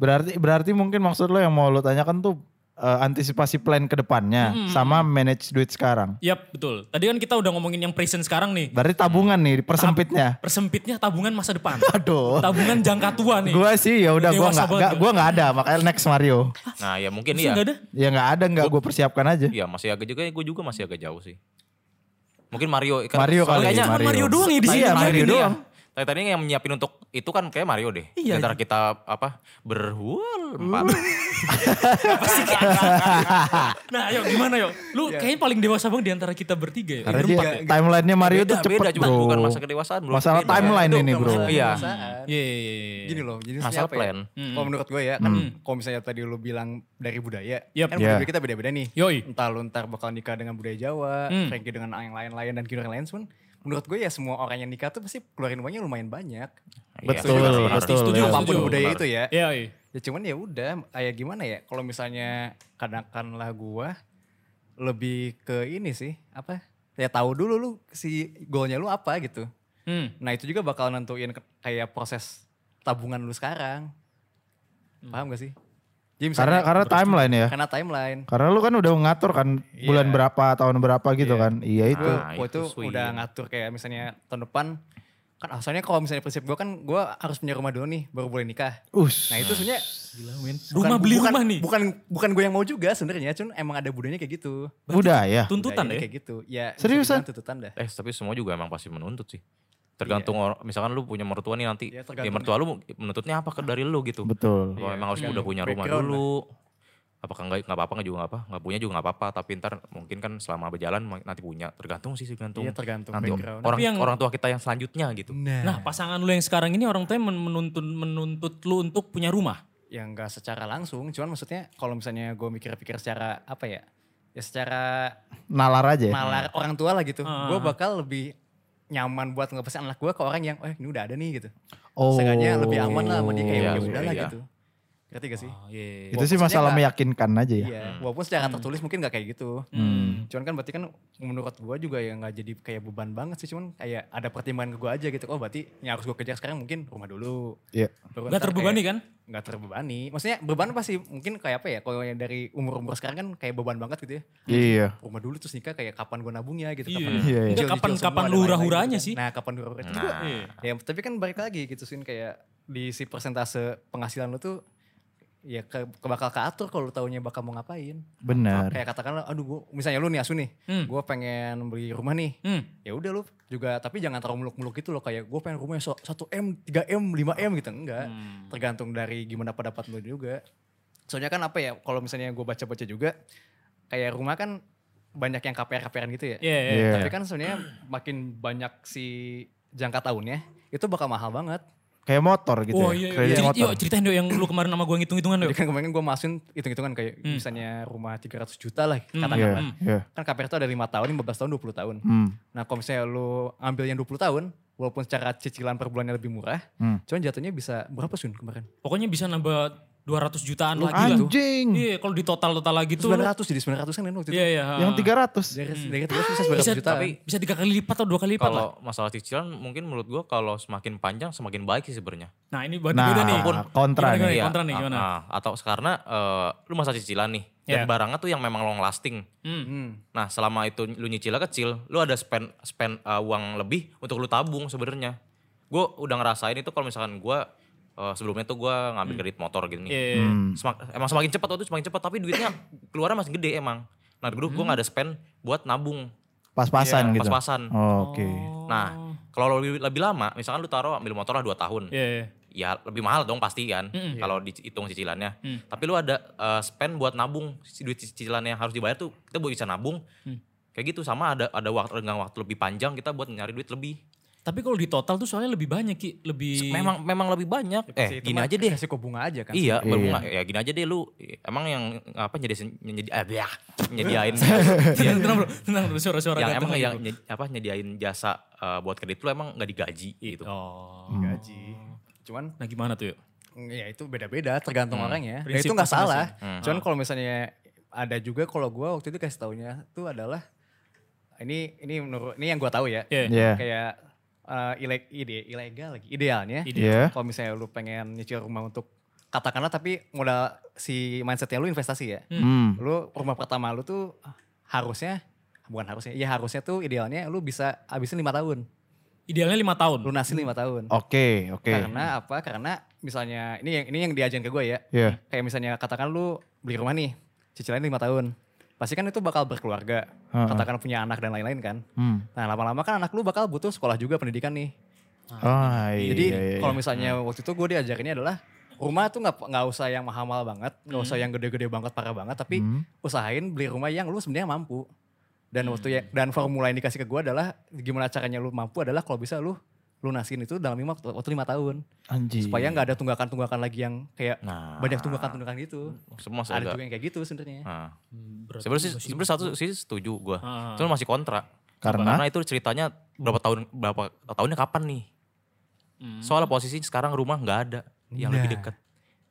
Berarti berarti mungkin maksud lo yang mau lo tanyakan tuh eh, antisipasi plan ke depannya Hmm. sama manage duit sekarang. Yap, betul. Tadi kan kita udah ngomongin yang present sekarang nih. Berarti tabungan nih persempitnya. Persempitnya tabungan masa depan. Aduh. tabungan jangka tua nih. Gua sih ya udah Dewasa gua nggak banget nggak- lu. gua nggak ada makanya next Mario. Nah ya mungkin Terus iya. nggak ada? Ya nggak ada nggak gue persiapkan aja. Iya masih agak juga, gue juga masih agak jauh sih. Mungkin Mario. kan- Mario soalnya kali kayaknya cuma Mario doang ya di Tadi sini. Iya, nyiapin Mario ini doang. ya. Tadi tadi yang nyiapin untuk itu kan kayak Mario deh. Iya. Antara kita apa Hmm. berhual empat. Nah, yuk gimana yuk? Lu kayaknya paling dewasa bang di antara kita bertiga ya. Karena Berempat dia ya? timelinenya Mario Beda, tuh cepet beda, cuma bro. bukan masa kedewasaan, bro. Masalah Beda. timeline Itu ini udah bro. masalah. Iya. Iya, iya, iya, iya. Gini loh, jadi Masalah siapa ya? plan. Kalau menurut gue ya, kan kalau misalnya tadi lu bilang dari budaya, Yap. kan Iya. budaya kita beda-beda nih. Yoi. Entah lu ntar bakal nikah dengan budaya Jawa, Hmm. Frankie dengan yang lain-lain, dan Kino yang lain pun. Menurut gue ya semua orang yang nikah tuh pasti keluarin uangnya lumayan banyak. Betul, Iya, setuju, betul. setuju. Setuju, Apapun setuju. budaya itu ya. Iya, iya. Ya cuman ya udah, kayak gimana ya? Kalau misalnya kadangkanlah gua lebih ke ini sih, apa? Ya tahu dulu lu si goalnya lu apa gitu. Hmm. Nah itu juga bakal nentuin ke- kayak proses tabungan lu sekarang. Hmm. Paham gak sih? Jadi Karena misalnya- karena timeline ya. karena timeline. Karena lu kan udah ngatur kan bulan berapa, tahun berapa gitu kan. Ah, Iya itu. Nah, Gua itu itu, sweet. udah ngatur kayak misalnya tahun depan kan asalnya kalau misalnya prinsip gua kan gua harus punya rumah dulu nih baru boleh nikah. Us. Nah itu sebenarnya Rumah beli bukan, rumah nih. Bukan bukan gue yang mau juga sebenarnya, cuman emang ada budayanya kayak gitu. budaya. Tuntutan Budayanya deh. kayak gitu. Ya bisa Seriusan? dibilang tuntutan dah. Iya, Eh tapi semua juga emang pasti menuntut sih. Tergantung orang, misalkan lu punya mertua nih nanti, ya Iya, tergantung. mertua lu menuntutnya apa ke dari lu gitu. Iya, Betul. Kalau memang harus udah punya rumah Background dulu. Apakah nggak nggak apa-apa nggak juga nggak apa nggak punya juga nggak apa-apa tapi ntar mungkin kan selama berjalan ma- nanti punya tergantung sih tergantung Iya, tergantung nanti background. orang Tapi yang- orang tua kita yang selanjutnya gitu Nah, Nah, pasangan lu yang sekarang ini orang tuanya men- menuntun menuntut lu untuk punya rumah. yang enggak Ya, secara langsung, cuman maksudnya kalau misalnya gue mikir-pikir secara apa ya? Ya secara Nalar aja. ya. nalar orang tua lah gitu. Gue bakal lebih nyaman buat ngelepasin anak gue ke orang yang, eh ini udah ada nih gitu. Oh. Seenggaknya lebih aman lah sama dia kayak Iya, ya udah lah iya. gitu. Ngerti gak sih? Oh, iya. Itu sih masalah nggak- meyakinkan aja ya. Iya, walaupun secara tertulis mungkin gak kayak gitu. Hmm. Cuman kan berarti kan menurut gue juga ya gak jadi kayak beban banget sih. Cuman kayak ada pertimbangan ke gue aja gitu. Oh berarti yang harus gue kejar sekarang mungkin rumah dulu. Iya. Baru Gak ntar terbebani kayak- kan? Gak terbebani. Maksudnya beban pasti mungkin kayak apa ya. Kalau yang dari umur-umur sekarang kan kayak beban banget gitu ya. Iya. rumah dulu terus nikah kayak kapan gue nabungnya gitu. Iya. Kapan Iya, iya. dijual-jual Kapan- semua kapan dan lu lain-lain hura-huranya gitu kan. sih? Nah kapan lu hura-huranya. Terus gua- Iya. Ya tapi kan balik lagi gitu sih kayak di si persentase penghasilan lu tuh ya ke, ke bakal keatur kalau lu taunya bakal mau ngapain. Benar. Kayak katakanlah aduh gua misalnya lu nih asu nih, Hmm. gua pengen beli rumah nih. Hmm. Ya udah lu juga tapi jangan terlalu muluk-muluk gitu loh kayak gua pengen rumahnya so, 1M, 3M, 5M gitu enggak. Hmm. Tergantung dari gimana pendapat lu juga. Soalnya kan apa ya kalau misalnya gua baca-baca juga kayak rumah kan banyak yang KPR-KPRan gitu ya. Iya, iya. Iya. Tapi kan sebenarnya makin banyak si jangka tahunnya itu bakal mahal banget. kayak motor gitu Oh ya. iya, kredit iya. Ceri- motor. yuk ceritain dong yang lu kemarin sama gue ngitung-hitungan Jadi yuk. kan kemarin gue masukin hitung-hitungan kayak Hmm. misalnya rumah 300 juta lah Iya, katakanlah. iya. Kan KPR itu ada 5 tahun, 15 tahun, 20 tahun. Hmm. Nah kalau misalnya lu ambil yang 20 tahun, walaupun secara cicilan per bulannya lebih murah, Hmm. cuman jatuhnya bisa berapa Sun kemarin? Pokoknya bisa nambah 200 jutaan lagi lah. Anjing. Iya, kalau di total-total lagi tuh. lu- 900 jadi 900 kan waktu itu. Iya, iya. ha. Yang 300. Dari, dari terus bisa bisa, berapa juta. kan? tapi bisa tiga kali lipat atau dua kali lipat lah. Kalau masalah cicilan mungkin menurut gua kalau semakin panjang semakin baik sih sebenarnya. Nah ini berarti Nah, beda nih. Walaupun- kontra gimana, nih. gimana, Iya, Kontra nih gimana? ah, ah. atau karena eh, lu masa cicilan nih dan Iya. barangnya tuh yang memang long lasting. Hmm. Hmm. Nah, selama itu lu nyicilnya kecil, lu ada spend spend uh, uang lebih untuk lu tabung sebenarnya. Gue udah ngerasain itu kalau misalkan gue sebelumnya tuh gue ngambil kredit motor gitu Iya, nih. iya. Hmm. Semak- emang semakin cepat waktu itu semakin cepat, tapi duitnya keluarnya masih gede emang. Nah, dulu gue nggak ada spend buat nabung, Iya, Pas-pasan gitu. pas-pasan. Oke. Nah, kalau lebih, lebih lama, misalkan lu taruh ambil motor lah 2 tahun. Iya, iya. Ya lebih mahal dong pasti kan kalau dihitung cicilannya. Mm. Tapi lu ada uh, spend buat nabung, si duit cicilannya yang harus dibayar tuh kita buat bisa nabung. Mm. Kayak gitu sama ada ada waktu renggang waktu lebih panjang kita buat nyari duit lebih. Tapi kalau di total tuh soalnya lebih banyak Ki. Lebih. Memang memang lebih banyak. eh, gini aja deh. Kasih bunga aja kan. Iya, berbunga. Ya gini aja deh lu emang yang apa nyediain nyedi, eh, biah, nyediain Tenang, tenang bro. Tenang bro. Suara-suara. yang datang Ya, emang iya. lagi, yang bro. nyedi- apa nyediain jasa uh, buat kredit lu emang nggak digaji gitu. Oh. Gaji. Cuman Nah gimana tuh yuk? ya itu beda-beda tergantung Hmm. orangnya. Dan Prinsip itu nggak salah. masing-masing. Cuman kalau misalnya ada juga kalau gua waktu itu kasih taunya tuh adalah ini ini menurut ini yang gua tahu ya. Iya. Iya. Kayak eh, ile- ide ilegal lagi idealnya. Iya. Kalau misalnya lu pengen nyicil rumah untuk katakanlah tapi modal si mindsetnya lu investasi ya. Hmm. Lu rumah pertama lu tuh harusnya bukan harusnya ya harusnya tuh idealnya lu bisa habisin lima tahun Idealnya lima tahun. lunasin lima tahun Oke, oke. karena apa karena misalnya ini yang ini yang diajarin ke gue ya Iya. kayak misalnya katakan lu beli rumah nih cicilannya lima tahun pasti kan itu bakal berkeluarga Heeh. katakan punya anak dan lain-lain kan Hmm. nah lama-lama kan anak lu bakal butuh sekolah juga pendidikan nih Ah, iya, jadi iya, iya. kalau misalnya waktu itu gue diajarinnya adalah rumah tuh nggak nggak usah yang mahal-mahal banget, nggak Hmm. usah yang gede-gede banget parah banget, tapi usahain beli rumah yang lu sebenarnya mampu. Dan Hmm. waktu ya, dan formula yang dikasih ke gue adalah gimana caranya lu mampu adalah kalau bisa lu lunasin itu dalam lima waktu lima tahun Anjing. supaya nggak ada tunggakan-tunggakan lagi yang kayak Nah. banyak tunggakan-tunggakan gitu. Semua Ada agak- juga yang kayak gitu sebenarnya. Nah. Berarti Sebenarnya sih- masih- sebenarnya satu sih setuju gua. Ah. Cuma masih kontra. Karena? itu ceritanya berapa tahun berapa tahunnya kapan nih? Hmm. Oh, Soalnya posisi sekarang rumah nggak ada yang lebih dekat.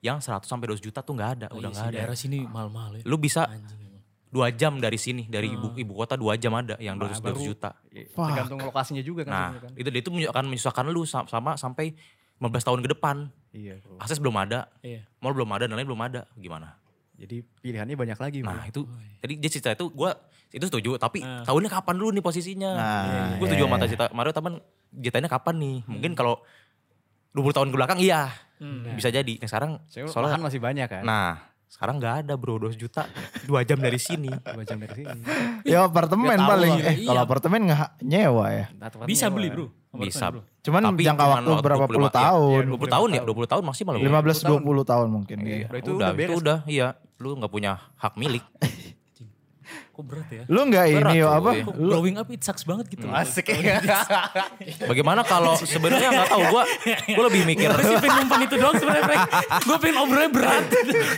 Yang 100 sampai 200 juta tuh nggak ada, Iya udah nggak sih, ada. Daerah sini mahal-mahal ya. Hmm. Lu bisa Anjing emang. dua jam dari sini dari ibu ibu kota dua jam ada yang 200 200 juta. Iya, Tergantung lokasinya juga kan. Nah, sebenarnya kan. itu itu menyu- akan menyusahkan lu sa- sama sampai 15 tahun ke depan. Iya, bro. Akses belum ada, Iya. mall belum ada, dan lain belum ada. Gimana? Jadi pilihannya banyak lagi. bro. Nah itu tadi dia cerita itu gue itu setuju tapi Ah. tahunnya kapan dulu nih posisinya? gue setuju sama cerita Mario taman ceritanya kapan nih? Hmm. Mungkin kalau 20 tahun ke belakang iya bisa jadi. Nah, sekarang Soalnya lahan soalnya masih banyak kan. nah sekarang nggak ada bro 2 juta dua jam dari sini. Dua jam dari sini. Ya apartemen paling. lah. Eh, Iya. kalau apartemen apartemen nggak nyewa ya. Nah, tempatnya Bisa gua- beli bro. Bisa. Apartemen, bro. Cuman jangka cuman waktu waktu berapa 25 puluh iya, tahun? 20 tahun ya 20 tahun maksimal. ya. 15 20 tahun mungkin. Iya, Iya. Udah, itu itu udah udah, itu beres. udah iya lu nggak punya hak milik. Kok berat ya? Lu nggak Berat ini yo, tuh, apa? iya. Kok growing up it sucks banget gitu. loh. Asik ya. Bagaimana kalau sebenarnya nggak tahu gue gue lebih mikir Gue sih pengen numpang itu doang sebenarnya Frank. Gue pengen obrolannya berat.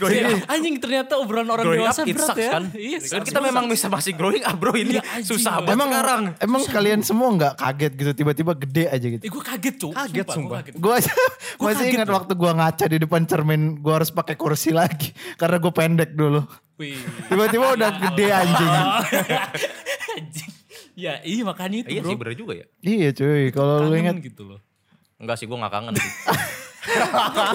Iya. Anjing ternyata obrolan orang growing up dewasa it berat sucks ya. kan. Iya, kan sucks kita banget. memang bisa masih growing up bro ini Iya, anjing, susah bro. banget Emang sekarang. emang kalian semua nggak kaget gitu tiba-tiba gede aja gitu. Eh gue kaget cuy. Kaget, sumpah. Gue kaget. Gue masih kaget ingat loh. waktu gua ngaca di depan cermin, gua harus pakai kursi lagi karena gue pendek dulu. Wih. Iya. Tiba-tiba udah gede anjing. Anjing. Ya iya makanya itu Iya bro. sih bener juga ya. Iya cuy, kalau lu Kangen ingat gitu loh. Enggak sih gue gak kangen sih.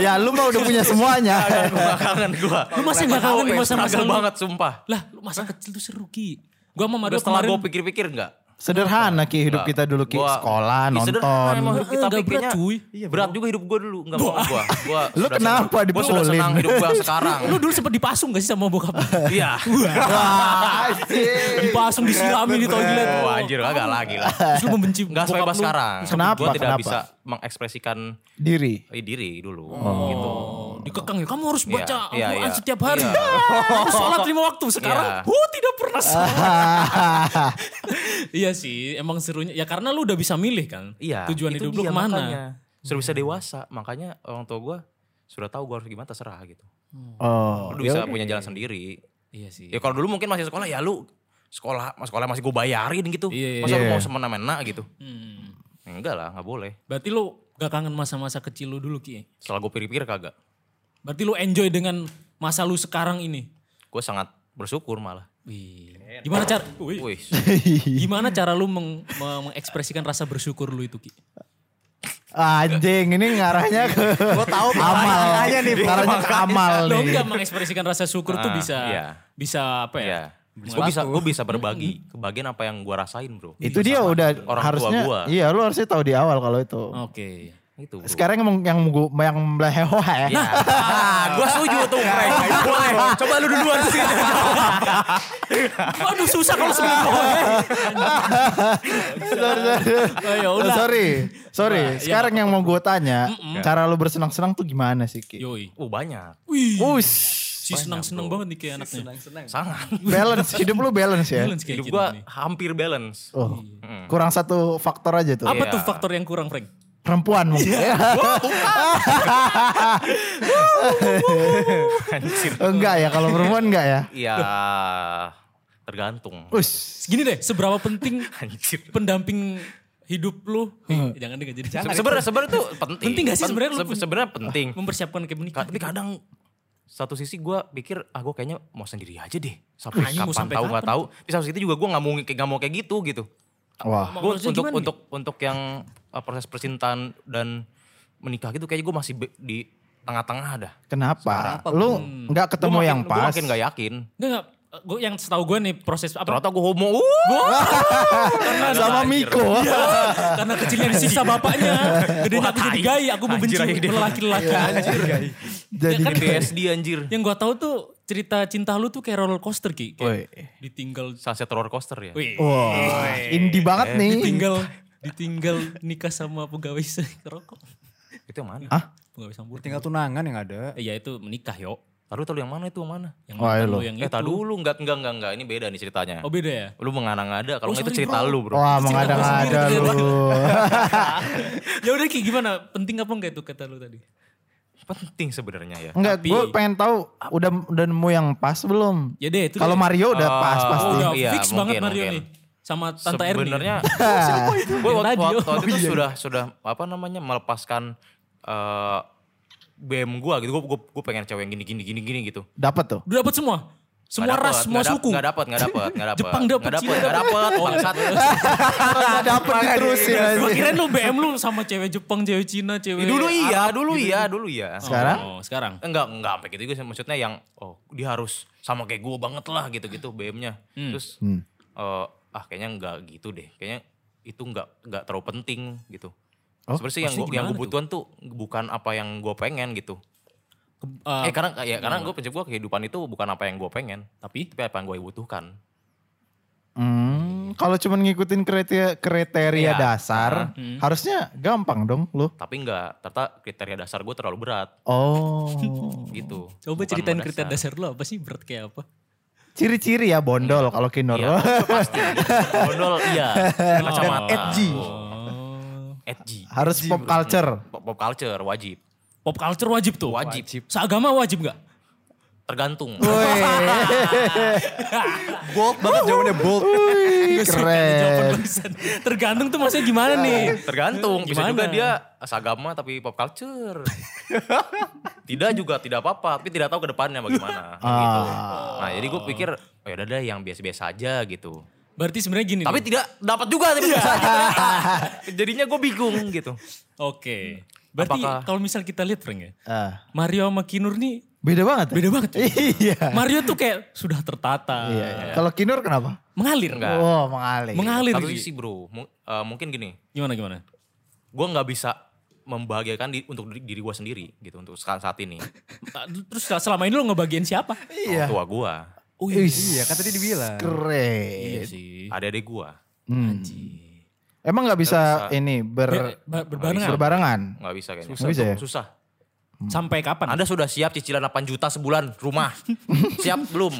ya lu mah udah punya semuanya. gue gak kangen gue. Lu masih gak kangen nih masa-masa lu? banget sumpah. Lah lu masa kecil tuh seru Ki. Gue sama Mario Setelah gue kemarin. pikir-pikir enggak. Sederhana ki hidup kita dulu ki Gua- sekolah Ih, sederhana nonton. emang hidup kita Enggak tapi berat, kayaknya cuy. berat juga hidup gue dulu. Enggak mau gue. Gua Lu sudah kenapa senang- Gua sudah dipukulin? senang hidup gue sekarang. Lu dulu sempet dipasung gak sih sama bokap? Iya. Wah, anjing. dipasung disirami di toilet. Oh anjir kagak lagi lah. Terus lu membenci Enggak bokap sebebas lu. sekarang. Kenapa, Gue tidak kenapa? bisa mengekspresikan Diri. eh, diri dulu. Gitu. Oh, dikekang ya. Kamu harus baca Iya, iya, Al-Quran iya. setiap hari. Iya. Harus sholat lima waktu. Sekarang, Iya. oh tidak pernah sholat. iya sih, emang serunya. Ya karena lu udah bisa milih kan. Iya. Tujuan itu hidup lu dia kemana. makanya. Sudah bisa dewasa, makanya orang tua gue sudah tahu gue harus gimana terserah gitu. Oh, Udah ya bisa udah. punya jalan sendiri. Iya sih. Ya kalau dulu mungkin masih sekolah ya lu sekolah sekolah masih gue bayarin gitu. Iya, iya, Masa lu iya. mau semena-mena gitu? Hmm. Enggak lah, nggak boleh. Berarti lu gak kangen masa-masa kecil lu dulu Ki? Setelah gue pikir-pikir kagak. Berarti lu enjoy dengan masa lu sekarang ini? Gue sangat bersyukur malah. Wih. Gimana cara? Wih. Wih, Gimana cara lu meng- me- mengekspresikan rasa bersyukur lu itu Ki? Anjing, ini ngarahnya ke Gue tahu amal. Makanya nih, ngarahnya ke amal Lo nih. enggak mengekspresikan rasa syukur tuh Ah, bisa iya. bisa apa ya? Hmm. ya. Gue bisa gue bisa berbagi kebagian apa yang gue rasain bro. Itu dia udah orang tua harusnya gua. iya lu harusnya tahu di awal kalau itu. Hmm. Oke. Itu bro. Sekarang emang yang gua- yang melehoh ya. Ah, gue setuju tuh Frank. Boleh. Coba lu duluan sih. Waduh susah kalau seminggu. Sorry, sorry. Oh, ya udah. sorry, sorry. Nah, iya, Sekarang yang mau gue tanya, cara lu bersenang-senang tuh gimana sih Ki? Yoi. Oh banyak. Wih. Wush, Si senang-senang banget nih kayak anaknya. Senang-senang. Sangat. balance hidup lu balance ya. Balance Nah, kayak Hidup gitu gue nih. hampir balance. Oh, kurang satu faktor aja tuh. Apa Iya. tuh faktor yang kurang, Frank? Perempuan mungkin. Anjir. enggak ya, kalau perempuan enggak ya. Iya, tergantung. Wush, Segini deh, seberapa penting Anjir. pendamping hidup lu? Hmm. Eh, jangan deh, nggak jadi. Se- Sebenarnya sebenarnya tuh penting. Penting nggak sih Pen- sebenarnya lu se- pun- Sebenarnya penting. Mempersiapkan kayak menikah. Ka- Tapi kadang satu sisi gue pikir ah gue kayaknya mau sendiri aja deh sampai Anjing, mau kapan sampai tahu nggak kapan? tahu di satu sisi juga gue nggak mau nggak mau kayak gitu gitu wah. gue Ah. Maksudnya untuk gimana untuk untuk yang uh, proses percintaan dan menikah gitu kayaknya gue masih be- di tengah-tengah dah Kenapa? Lu enggak ketemu yang gue pas. makin ya? gak yakin Enggak, enggak. Gue yang setahu gue nih proses apa? ternyata gue homo uh, Sama Miko. Iya. Karena kecilnya disiksa bapaknya. Gedenya aku jadi gay, aku membenci Anjir, Iya, anjir. lelaki-lelaki. Jadi Ya Iya, kan? BSD anjir Yang gue tahu tuh cerita cinta lu tuh kayak roller coaster Ki. Kayak Woi. ditinggal. sunset roller coaster ya Wih. Wah, indie banget nih. Ditinggal, ditinggal nikah sama pegawai rokok. itu yang mana Hah? Pegawai sambur. Tinggal tunangan yang ada. Eh, ya itu menikah yo. Lalu tahu yang mana itu yang mana? Yang Wah, mantan lo. lu yang Eh, itu. tak dulu enggak enggak enggak enggak ini beda nih ceritanya. Oh beda ya? Lu mengada-ngada kalau Oh, enggak itu sorry, cerita bro. lu, Bro. Wah, Terus cerita gua mengada-ngada sendiri, lu. ya udah Ki gimana? Penting apa enggak itu kata lu tadi? Penting sebenarnya ya. Enggak, Tapi- gue pengen tahu udah udah nemu yang pas belum? Ya deh itu Kalau deh. Mario udah Ah, pas pasti. Oh, udah Iya, fix banget mungkin, Mario mungkin. nih. Sama Tante Erni. Sebenarnya gue Yang waktu, tadi, waktu, oh. waktu itu sudah sudah apa namanya melepaskan eh BM gua gitu. Gue pengen cewek yang gini gini gini gini gitu. Dapat tuh. Udah dapat semua. Semua ras, semua suku. Enggak dapat, enggak dapat, enggak dapat. Jepang dapet, Oh, iya, enggak dapat, Cina enggak dapat. Bangsat. Dapat diterusin Gua aja. kirain lu BM lu sama cewek Jepang, cewek Cina, cewek. Dulu iya, dulu iya, dulu iya. Sekarang? gitu ya. Oh, sekarang. Enggak, enggak sampai gitu juga sih. Maksudnya yang oh, dia harus sama kayak gue banget lah gitu-gitu BM-nya. Hmm. Terus eh, ah kayaknya enggak gitu deh. Kayaknya itu enggak enggak terlalu penting gitu. Sebenarnya sih yang maksudnya gue yang gimana gua butuhan tuh? bukan apa yang gue pengen gitu. Ke- eh, eh karena ya karena gue prinsip gue kehidupan itu bukan apa yang gue pengen, tapi tapi apa yang gue butuhkan. Hmm, kalau cuman ngikutin kriteria kriteria Iya. dasar, harusnya gampang dong lu. Tapi enggak, ternyata kriteria dasar gue terlalu berat Oh. gitu. coba Bukan ceritain mendasar. kriteria dasar lu apa sih berat kayak apa? Ciri-ciri ya bondol kalau kinor. Iya, itu pasti. Bondol iya. Kacamata. edgy. Oh. Edgy. Harus pop culture. Pop pop culture wajib. Pop culture wajib tuh. Wajib. Seagama wajib nggak? Tergantung. Bold banget jawabannya bold. Wih, Eh. keren. Tergantung tuh maksudnya gimana nih? Tergantung, bisa Gimana? juga dia agama tapi pop culture. tidak juga, tidak apa-apa, tapi tidak tahu ke depannya bagaimana. gitu. Nah jadi gue pikir, oh yaudah deh yang biasa-biasa aja gitu. Berarti sebenarnya gini. Tapi nih. tidak dapat juga, tapi biasa aja. Jadinya gue bingung gitu. Oke. Berarti Apakah- kalau misal kita lihat Frank ya. Ah, Mario sama Kinur nih beda banget. ya? beda banget. cuy. Iya. Mario tuh kayak sudah tertata. Iya. Kalau kinor kenapa? Mengalir. Enggak. Oh, mengalir. Mengalir. Satu Ki. sisi bro, mu- eh, mungkin gini, Gimana gimana? gue nggak bisa membahagiakan di- untuk diri, diri gue sendiri gitu untuk saat, saat ini. Ah, Terus selama ini lo ngebagiin siapa? Iya. Tua gue, Oh iya Wih, Iya kan tadi dibilang. keren. sih. adik-adik gue. Emang nggak bisa, ini ber Ber- berbarengan. Iya. berbarengan? Nggak bisa kayaknya. Nggak bisa ya? Susah. Sampai kapan? Anda sudah siap cicilan 8 juta sebulan rumah? siap belum?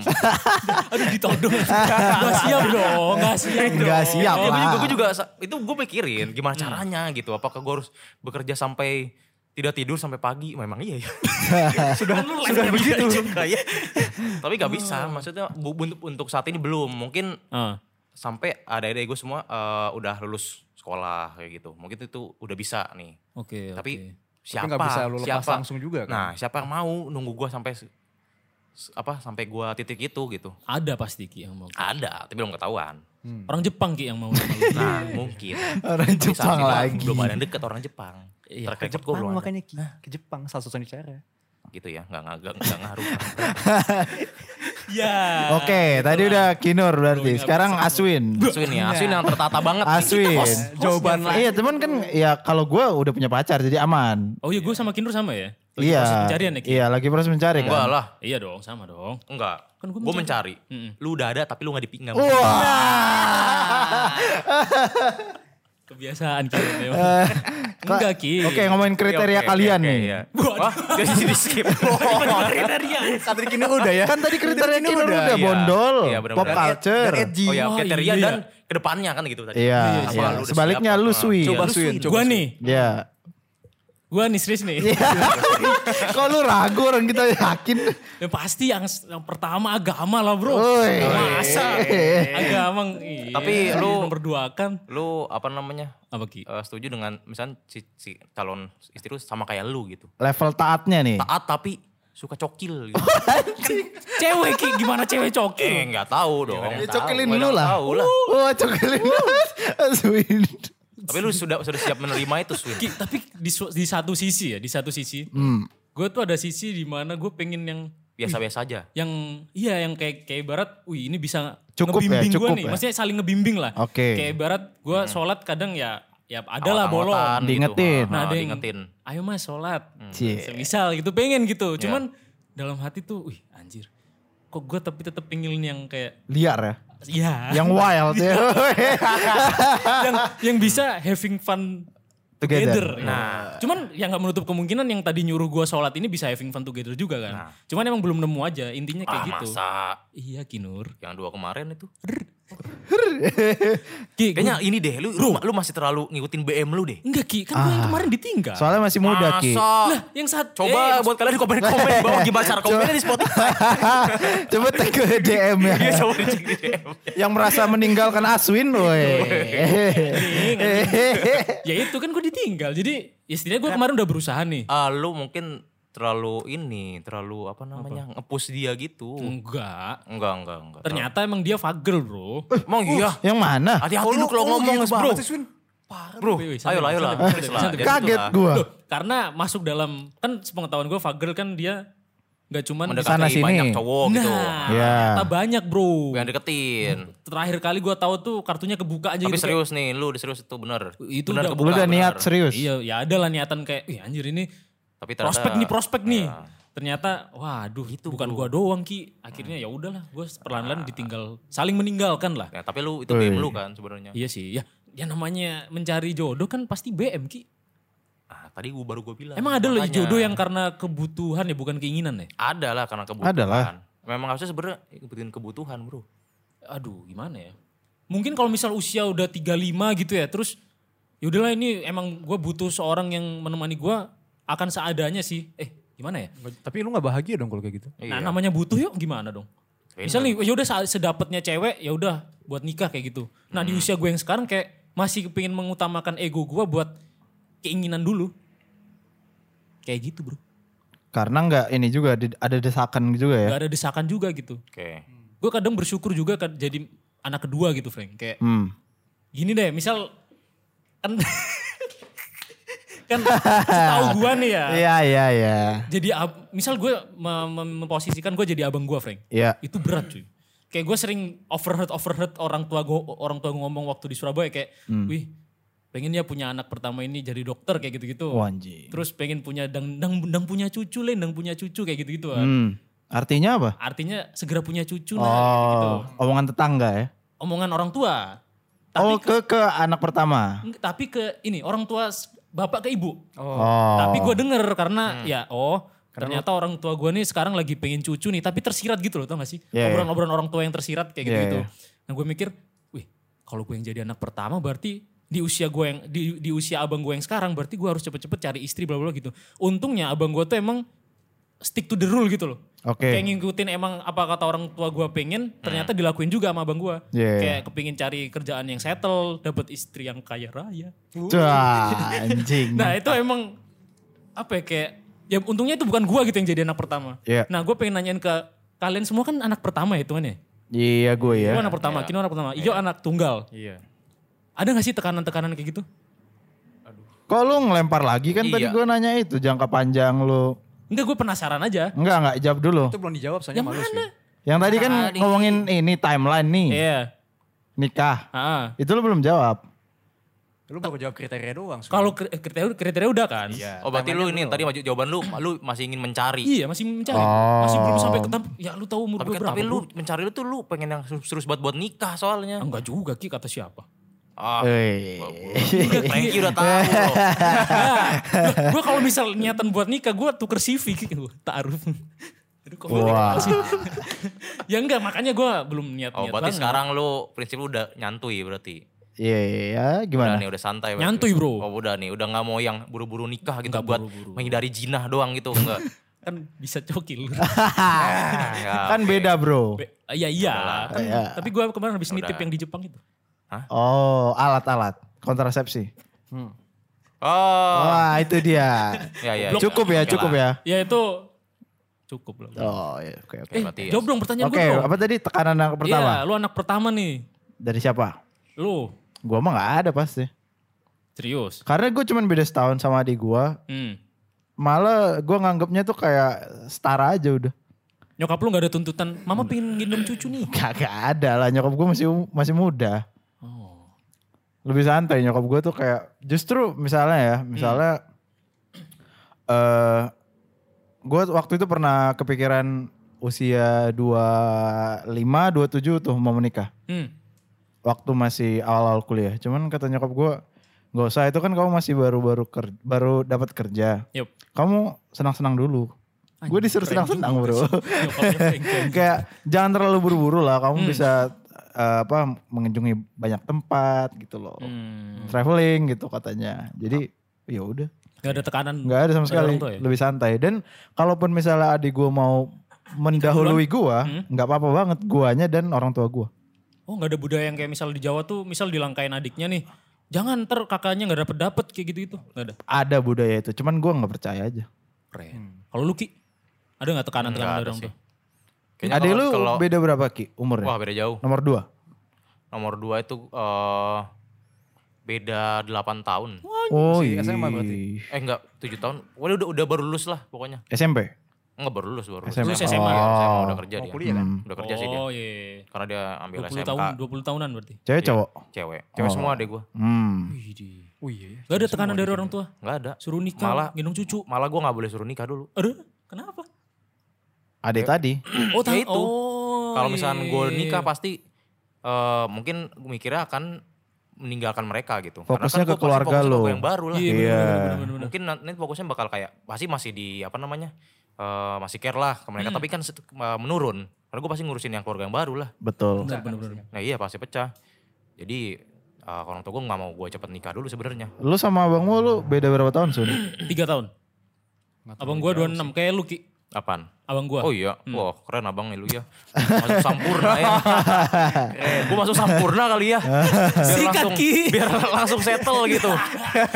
Aduh ditodong. Gak siap dong. Gak siap dong. Nggak siap Iya, gue juga, lah. gue juga sa- itu gue mikirin Hmm. gimana caranya gitu. Apakah gue harus bekerja sampai tidak tidur sampai pagi? Memang iya ya. Sudah, Kan sudah Iya juga ya. Tapi gak bisa. Oh. Maksudnya bu- untuk, untuk saat ini belum. Mungkin Ah, sampai adik-adik gue semua eh, udah lulus sekolah kayak gitu. Mungkin itu udah bisa nih. Oke, Tapi oke. siapa? Ya, nggak bisa lu lepas siapa? langsung juga kan? Nah, siapa yang mau nunggu gue sampai se- se- apa sampai gue titik itu gitu? Ada pasti Ki yang mau. Ada, tapi belum ketahuan. Orang Jepang Ki yang mau. sama lu. Nah, mungkin. Orang Tapi saat Jepang ini lagi. Belum ada yang deket orang Jepang. Iya, Track Ke record gue Jepang belum ada. makanya Ki. Ke Jepang satu-satunya cara. Gitu ya, gak, gak, gak, gak ngaruh. Ya. Oke, tadi udah Kinur berarti. Nggak Sekarang bisa. Aswin. Aswin ya, Aswin iya. yang tertata banget. Gitu. nih. Aswin. Host. Jawaban Iya, cuman kan ya kalau gue udah punya pacar jadi aman. Oh iya gue sama Kindur sama ya? Lagi Iya. proses pencarian ya Ki? Iya, lagi proses mencari Enggak kan. lah, Iya dong, sama dong. enggak. Kan gua gue mencari. Mm-mm. Lu udah ada tapi lu gak dipinggang. Kebiasaan Ki. memang. Enggak Ki. Oke, ngomongin kriteria kalian nih. iya. Wah, jadi di skip. Iya. Katri Kinur udah ya. Kan tadi kriteria Kinur Kinur udah. udah Iya. bondol, Iya, benar-benar. pop Dan ed- culture. Oh ya, Wah, kriteria iya. dan kedepannya kan gitu tadi. Iya, Apa iya. lu udah Sebaliknya siap lu apa? Sui. Coba Lu Sui. Sui. Gue nih, Iya. gue nih serius nih. Kok lu ragu orang kita yakin? Ya pasti yang, yang pertama agama lah bro. Oi. Masa Oi. agama. iya. Tapi lu- nomor dua kan. Lu apa namanya? Apa Ki? eh, setuju dengan misalnya si, si calon istri lu sama kayak lu gitu. Level taatnya nih. Taat tapi suka cokil gitu. Cewek Ki, gimana cewek eh, coki? enggak tahu dong. Ya, Tahu, cokilin lu gua nggak lah. Tahu lah. Wah, cokilin lu. Oh, Aswin. Tapi lu sudah sudah siap menerima itu, Swin. Ki, tapi di, su- di satu sisi ya, di satu sisi. Hmm. Gue tuh ada sisi di mana gue pengen yang Biasa-biasa aja. yang iya yang kayak kayak barat, wih ini bisa Cukup ya, ngebimbing cukup gue nih, ya. maksudnya saling ngebimbing lah. Oke. Hmm. Kayak barat gue sholat kadang ya ya ada lah bolong. kan. Awat-awatan gitu. Diingetin. Nah, Nah, ada yang- diingetin. Ayo mas sholat, Cie. semisal gitu pengen gitu, cuman Iya. dalam hati tuh, wih anjir, kok gue tapi tetap pengen yang kayak Liar ya. ya Yang wild ya. yang yang bisa having fun Together. together. Nah, cuman yang nggak menutup kemungkinan yang tadi nyuruh gue sholat ini bisa having fun together juga kan. Cuman emang belum nemu aja intinya kayak Nah. Ah, gitu. masa Iya Kinur. yang dua kemarin itu. Ki, gua- Kayaknya ini deh, lu lu, lu masih terlalu ngikutin BM lu deh. Enggak Ki, kan gue Ah. yang kemarin ditinggal. Soalnya masih muda, Ki. Lah, yang saat Coba buat kalian di komen-komen di bawah gimana cara komennya di Spotify. Coba tag ke DM ya. Iya, coba dicek di DM. Yang merasa meninggalkan Aswin, woi. ya itu kan gue ditinggal. Jadi ya setidaknya Nah. gue kemarin udah berusaha nih. Ah, lu mungkin terlalu ini, terlalu apa namanya, nge-push dia gitu. Enggak. Enggak, enggak, enggak. Ternyata emang dia fagel, Bro. Emang iya. Yang mana? Hati-hati lu kalau gitu, ngomong, Bro. Bro, Wih, wih, santai, ayo lah, ayo lah. santai, Please santai, lah. santai. Gitu Kaget lah. gua. Loh, karena masuk dalam kan sepengetahuan gue fagel kan dia nggak cuman Mendekati Sana sini. banyak cowok gitu. Nah, Ya. ternyata banyak, Bro. Yang deketin. Terakhir kali gue tahu tuh kartunya kebuka aja Tapi gitu. kayak- serius nih, lu udah serius itu bener. Itu udah- bener Lu udah niat bener. serius. Iya, ya ada lah niatan kayak, wih anjir ini Tapi ternyata- Iya. Gitu, prospek nih, prospek nih. Ternyata, waduh, itu bukan gua doang ki. Akhirnya ya udahlah, gua Nah. perlahan-lahan ditinggal, saling meninggalkan lah. Ya, tapi lu itu BM lu kan sebenarnya. Iya sih, ya, ya namanya mencari jodoh kan pasti BM ki. Ah, tadi gua baru gua bilang. Emang ada loh Makanya. jodoh yang karena kebutuhan ya, bukan keinginan ya. Ada lah karena kebutuhan. Ada lah. Memang harusnya sebenarnya ngikutin kebutuhan bro. Aduh, gimana ya? Mungkin kalau misal usia udah 35 gitu ya, terus ya udahlah ini emang gua butuh seorang yang menemani gua akan seadanya sih. Eh, gimana ya? Tapi lu gak bahagia dong kalau kayak gitu. Nah, namanya butuh yuk gimana dong? Tapi Misal nih, ya udah sa- sedapatnya cewek, ya udah buat nikah kayak gitu. Nah, di usia gue yang sekarang kayak masih pengen mengutamakan ego gue buat keinginan dulu. Kayak gitu, Bro. Karena nggak ini juga di- ada desakan juga ya. Gak ada desakan juga gitu. Oke. Gue kadang bersyukur juga kad- jadi anak kedua gitu, Frank. Kayak Hmm. gini deh, misal kan kan setahu gue nih ya. Iya, iya, iya. Jadi ab- misal gue me- me- memposisikan gue jadi abang gue, Frank. Iya. itu berat cuy kayak gue sering overheard overheard orang tua gue orang tua ngomong waktu di Surabaya kayak Hmm. wih pengen ya punya anak pertama ini jadi dokter kayak gitu gitu Oh, anjing. terus pengen punya dang dang dang punya cucu lain dang punya cucu kayak gitu gitu Hmm. Artinya apa? artinya segera punya cucu nah gitu Oh, omongan tetangga ya. omongan orang tua tapi Oh, ke ke anak pertama. tapi ke ini orang tua s- bapak ke ibu. Oh. Oh. Tapi gue denger karena ya oh ternyata orang tua gue nih sekarang lagi pengen cucu nih tapi tersirat gitu loh tau gak sih? Iya, Obrolan-obrolan orang tua yang tersirat kayak Iya, gitu-gitu. iya. Nah gue mikir, wih kalau gue yang jadi anak pertama berarti di usia gue yang di, di usia abang gue yang sekarang berarti gue harus cepet-cepet cari istri bla bla gitu. Untungnya abang gue tuh emang stick to the rule gitu loh. Oke. Kayak ngikutin emang apa kata orang tua gue pengen, ternyata dilakuin juga sama abang gue. Iya. Kayak kepingin cari kerjaan yang settle, dapet istri yang kaya raya. Cua, anjing. Nah itu emang apa ya kayak ya untungnya itu bukan gua gitu yang jadi anak pertama. Iya. Nah gue pengen nanyain ke kalian semua kan anak pertama ya tuan ya. Iya gue ya. Gua anak pertama, Kino anak pertama, Ijo anak tunggal. Iya. Ada gak sih tekanan-tekanan kayak gitu? Kok lu ngelempar lagi kan tadi Iya. gue nanya itu jangka panjang lu. Enggak gue penasaran aja. Enggak enggak jawab dulu. Itu belum dijawab soalnya Yang malu sih. mana? Yang tadi kan ngomongin ini timeline nih Iya. nikah. Ah. Itu lu belum jawab. Lu baru jawab kriteria doang. Su. Kalau kri- eh, kriteria, kriteria udah kan? Iya. Oh berarti lu ini tadi maju jawaban lu, lu masih ingin mencari. Iya masih mencari. Oh. Masih belum sampai ke tempat. Ya lu tahu umur Tapi, kan gue berapa? tapi lu lu mencari lu tuh lu pengen yang serius buat buat nikah soalnya. enggak juga Ki kata siapa? Ah, Eh. Frankie udah tahu loh. gue kalau misal niatan buat nikah gue tuker CV gitu taruh Aduh, kok gua Wah. nikah sih? ya enggak makanya gue belum niat Oh niat berarti sekarang lu prinsip lu udah nyantui berarti. Iya ya Udah gimana? nih udah santai. berarti. Nyantui, bro. Oh udah nih udah nggak mau yang buru-buru nikah gitu Nggak buat buru-buru. menghindari jinah doang gitu Ah, enggak. kan bisa cokil Oh. ya. kan beda bro. Be- ya iya kan, Iya. tapi gue kemarin habis nitip Udah. yang di Jepang itu Oh alat-alat kontrasepsi. Oh. Wah itu dia. Ya, ya, ya. Cukup ya Oke cukup lah. ya ya. itu cukup lah Oh iya, oke oke. eh berarti ya. jawab dong pertanyaan Oke gue dong apa tadi tekanan yang pertama? iya lu anak pertama nih Dari siapa? lu Gua mah nggak ada pasti. serius Karena gue cuman beda setahun sama adik gua. hmm. Malah gue nganggapnya tuh kayak setara aja udah. nyokap lu gak ada tuntutan mama pengen gendong cucu nih Kagak ada lah nyokap gue masih masih muda. oh. Lebih santai nyokap gue tuh kayak justru misalnya ya, misalnya eh gue waktu itu pernah kepikiran usia 25, 27 tuh mau menikah. hmm. Waktu masih awal-awal kuliah. Cuman kata nyokap gue nggak usah itu kan kamu masih baru-baru ker- baru dapat kerja. Yup. Kamu senang-senang dulu. Gue disuruh Keren juga senang-senang bro. sih. Hmm. Nyokapnya pengen. kayak jangan terlalu buru-buru lah kamu bisa eh, apa mengunjungi banyak tempat gitu loh Hmm. traveling gitu katanya jadi ya udah Gak ada tekanan. nggak ada dari orang sama sekali tua ya? lebih santai dan kalaupun misalnya adik gua mau mendahului gua nggak apa-apa banget guanya dan orang tua gua Oh gak ada budaya yang kayak misal di Jawa tuh misal dilangkain adiknya nih. Jangan ntar kakaknya gak dapet dapet kayak gitu-gitu. Gak ada. ada budaya itu cuman gua nggak percaya aja Keren. Kalau lu Ki, ada gak tekanan-tekanan Nggak dari ada orang sih. tua? Kayaknya adik kalau- lu kalau- beda berapa ki umurnya Wah beda jauh. nomor dua Nomor dua itu eh beda 8 tahun. oh iya. masih SMA berarti. Eh enggak, 7 tahun. Pokoknya udah udah baru lulus lah pokoknya. SMP Enggak baru lulus, baru lulus. SMA. Lulus SMA. Iya, SMA, udah kerja Mau dia. Hmm. kuliah kan? Udah kerja sih dia. Oh iya. Karena dia ambil 20 SMK. tahun, Oh. 20 tahunan berarti. cewek Iya, cowok Cewek. Cewek semua deh gua. hmm Widih. Oh iya. Gak ada tekanan dari orang tua. Enggak ada. Suruh nikah, Malah- gendong cucu. Malah gua nggak boleh suruh nikah dulu. Aduh, kenapa? adik tadi Oh, tahu. Ya itu. Oh, Kalau misalkan iya. gua nikah pasti eh mungkin gua mikirnya akan meninggalkan mereka gitu. Fokusnya ke Karena kan gua pasti keluarga fokusnya lu. ke yang baru lah. Iya, Iya. bener-bener. mungkin nanti fokusnya bakal kayak pasti masih di apa namanya eh, masih care lah ke Hmm. mereka tapi kan set- eh, menurun karena gue pasti ngurusin yang keluarga yang baru lah betul Bener-bener. nah iya pasti pecah jadi eh, orang tua gue nggak mau gue cepet nikah dulu sebenarnya lu sama abangmu lu beda berapa tahun sun Tiga tahun. Abang gua 26, kayak lu Ki. apaan Abang gua. oh iya wah keren abang nih lu ya masuk sampurna ya gue masuk sampurna kali ya biar Sikat, langsung Ki. biar langsung settle gitu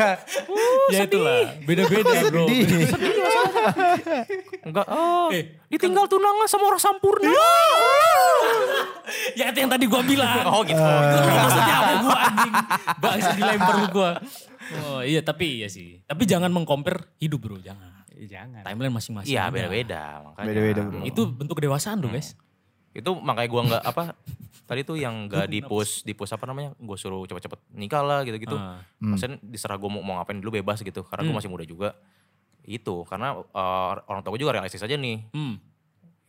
ya itulah. Beda-beda bro. enggak oh, Eh, ditinggal tunangan sama orang sampurna Iya. ya itu yang tadi gua bilang. oh gitu Ah. Itu loh maksudnya apa gue anjing. Bangsa dilempar lu gue. Oh iya tapi iya sih. Tapi jangan mengkompar hidup bro, jangan. Iya, Jangan. Timeline masing-masing. iya ada. beda-beda makanya Beda-beda, bro. Itu bentuk kedewasaan tuh guys. itu makanya gua nggak apa tadi tuh yang nggak di push di push apa namanya gue suruh cepet-cepet nikah lah gitu-gitu Ah. Hmm. maksudnya diserah gue mau, mau ngapain dulu bebas gitu karena gue masih muda juga itu karena eh, orang tua gue juga realistis aja nih Hmm.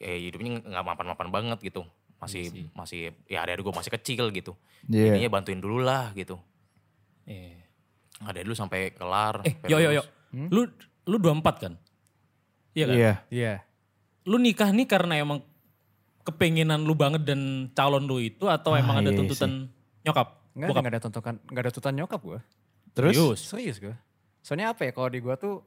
eh, hidupnya nggak mapan-mapan banget gitu masih masih ya dari gue masih kecil gitu Iya. Ininya bantuin dulu lah gitu Iya. Ada dulu sampai kelar. Eh, sampai yo yo yo. lulus. Lu lu 24 kan? Iya kan? Iya. Iya. Lu nikah nih karena emang kepenginan lu banget dan calon lu itu atau Ah, emang ada iya tuntutan nyokap? Enggak, Bokap? enggak ada tontokan, enggak ada tuntutan nyokap gue. Terus? Serius? Serius gue. Soalnya apa ya kalau di gue tuh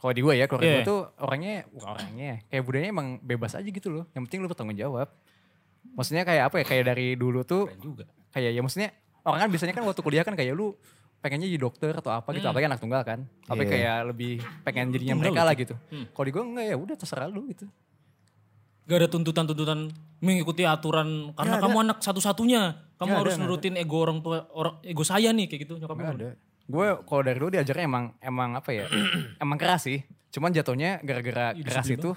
kalau di gue ya, keluarga Iya. gue tuh orangnya, bukan orangnya, kayak budayanya emang bebas aja gitu loh. Yang penting lu bertanggung jawab. Maksudnya kayak apa ya, kayak dari dulu tuh juga. kayak ya maksudnya orang kan biasanya kan waktu kuliah kan kayak lu pengennya jadi dokter atau apa gitu, apalagi anak tunggal kan. Tapi Iya. kayak lebih pengen jadinya Hmm. Tunggal Hmm. mereka loh. lah gitu. Kalau di gue enggak ya udah terserah lu gitu. Gak ada tuntutan-tuntutan mengikuti aturan karena kamu anak satu-satunya. Kamu harus nurutin ego orang tua orang ego saya nih kayak gitu nyokap lu. ada. Gue kalau dari dulu diajarnya emang emang apa ya? emang keras sih. Cuman jatuhnya gara-gara Ih, keras sedih itu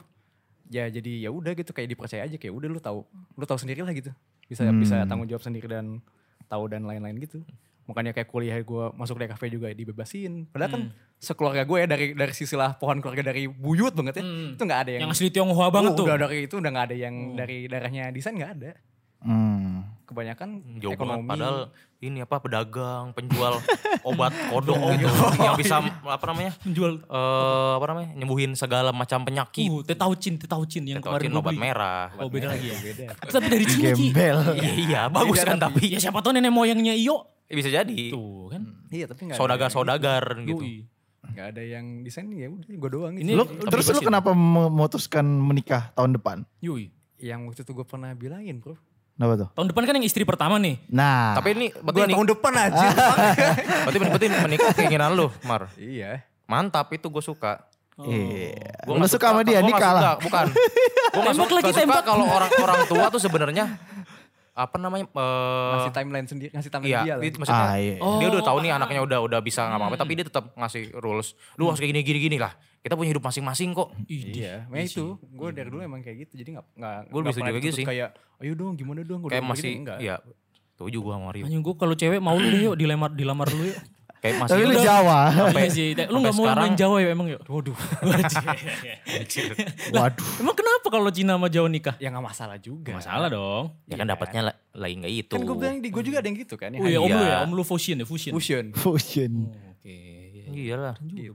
ya jadi ya udah gitu kayak dipercaya aja kayak udah lu tahu lu tahu sendiri lah gitu. Bisa Hmm. bisa tanggung jawab sendiri dan tahu dan lain-lain gitu. Makanya kayak kuliah gue masuk di kafe juga dibebasin. Padahal kan Hmm. sekeluarga gue ya dari dari sisilah pohon keluarga dari buyut banget ya. Hmm. Itu nggak ada yang, Yang asli Tionghoa banget Oh, tuh. Hmm. Udah dari itu udah nggak ada yang dari darahnya desain nggak ada. Hmm. Kebanyakan Jauh banget, ekonomi. padahal ini apa pedagang, penjual obat kodok gitu yang bisa apa namanya? Menjual eh apa namanya? nyembuhin segala macam penyakit. uh, tetaucin, tetaucin yang kemarin Tetaucin gua obat beli. merah. Oh beda lagi ya. Iya, beda. Tapi dari Cina Ki. Gembel. Iya, iya, bagus kan tapi. Ya siapa tahu nenek moyangnya Iyo. Bisa jadi. Tuh kan. Iya tapi nggak. ada yang- Saudagar-saudagar gitu. Yoi. nggak ada yang desain ya udah gue doang gitu. Ini- Lu, Tapi terus lu bersih. kenapa memutuskan menikah tahun depan? Yoi. yang waktu itu gue pernah bilangin bro. Kenapa tuh? Tahun depan kan yang istri pertama nih. Nah, Tapi ini berarti Gue ini tahun depan aja. Ah. berarti berarti menikah keinginan lu, Mar. iya. Mantap itu gue suka. iya. Oh, Gua lu nggak suka sama dia, gua nggak nikah lah. suka, Bukan. Gue gak Tembak suka, lagi, nggak suka tembak. kalau orang orang tua tuh sebenarnya apa namanya? eh, Ngasih timeline sendiri, ngasih timeline iya, dia lah. di- maksudnya Oh, Ah, iya. dia udah tahu nih Oh, anaknya udah udah bisa ngapa-ngapain Hmm. tapi dia tetap ngasih rules. Lu harus kayak gini gini gini lah. Kita punya hidup masing-masing kok. Ih, Iya, makanya itu. Gue dari dulu emang kayak gitu. Jadi gak, nggak Gua nggak bisa pernah juga gitu dituntut sih. Kayak, ayo dong gimana dong. Gua Kayak udah begini, masih enggak. iya. Setuju gua sama Mario. Anjing gue kalau cewek mau lu deh yuk dilamar dilamar lu yuk. Kayak masih Tapi lu udah- Jawa. Sampai- Iya sih, lu sampai gak mau sekarang- main Jawa ya emang yuk? Waduh. Waduh. emang kenapa kalau Cina sama Jawa nikah? Ya gak masalah juga. Masalah dong. Ya kan dapatnya la- lain gak itu. Kan gue bilang, di gue juga ada yang gitu kan. Yang Oh iya, om Iya. lu ya, om lu fusion ya, fusion. Oh, fusion. Fusion. Oke. Iya lah. Gitu.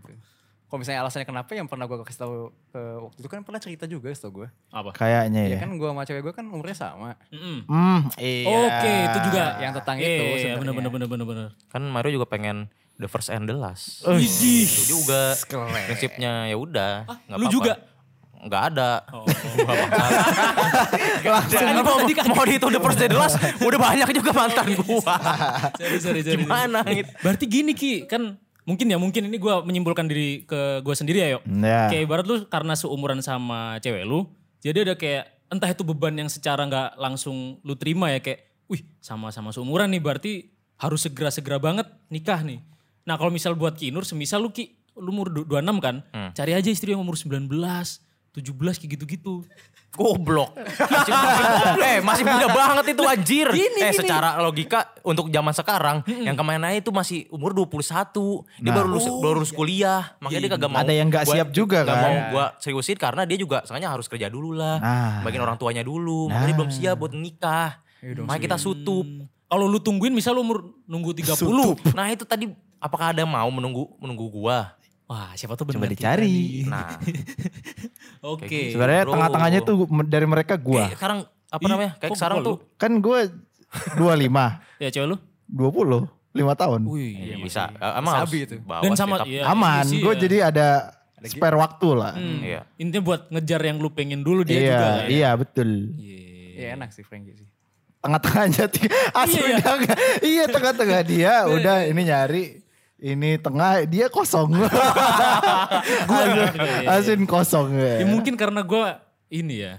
Kalau misalnya alasannya kenapa yang pernah gue kasih tahu ke waktu itu kan pernah cerita juga setahu gue. Apa? Kayaknya ya. Ya kan gue sama cewek gue kan umurnya sama. Mm-mm. Hmm, iya. Oke, itu juga. Yang tentang Iya, itu iya, Iya, sebenarnya. bener bener bener bener bener. Kan Mario juga pengen the first and the last. Ih, Itu juga prinsipnya ya udah. nggak Ah, lu apa-apa. juga? Nggak ada. Oh. Jangan gua tadi kan- mau di itu the first and the last, udah banyak juga mantan gua. Sorry, sorry, sorry. Gimana gitu? Berarti gini Ki, kan mungkin ya mungkin ini gue menyimpulkan diri ke gue sendiri ya yuk. Ya. Kayak ibarat lu karena seumuran sama cewek lu, jadi ada kayak entah itu beban yang secara nggak langsung lu terima ya kayak, wih sama-sama seumuran nih berarti harus segera-segera banget nikah nih. Nah kalau misal buat Ki Nur, semisal lu Ki, lu umur du- 26 kan, cari aja istri yang umur 19, 17 kayak gitu-gitu. Goblok. Masih, masih- eh masih muda banget itu anjir. Gini, eh gini. secara logika untuk zaman sekarang yang kemana itu masih umur 21. Dia baru lulus, Oh. baru lulus kuliah. Makanya dia kagak mau. Nah. Ada yang nggak gua- siap juga nggak kan. mau gua seriusin karena dia juga sebenarnya harus kerja dulu lah. Nah. Bagian orang tuanya dulu. Makanya dia belum siap buat nikah. Iya Makanya kita sutup. Hmm. Kalau lu tungguin misal lu umur nunggu 30. Nah itu tadi apakah ada yang mau menunggu menunggu gua? Wah siapa tuh benar. Coba dicari. Nah, Oke. Kayak gitu. Sebenarnya Bro. Iya. tengah-tengahnya tuh dari mereka kayak gua. sekarang apa Ih, namanya? Kayak kok sekarang gua tuh Kan gua 25, Ya cewek lu? 20, 5 tahun. Wih. bisa. Eh, emang Masih harus abi itu. bawa Dan sih, sama tapi- ya, Aman, iya sih gua ya. jadi ada spare waktu lah. Iya. Intinya buat ngejar yang lu pengen dulu dia iya, juga. lah ya. iya betul. Ya enak sih Frankie sih. tengah-tengahnya tiga Iya, asli iya. dia nggak- iya tengah-tengah dia udah ini nyari ini tengah dia kosong Iya, gua asin kosong ya. Ya mungkin karena gue ini ya.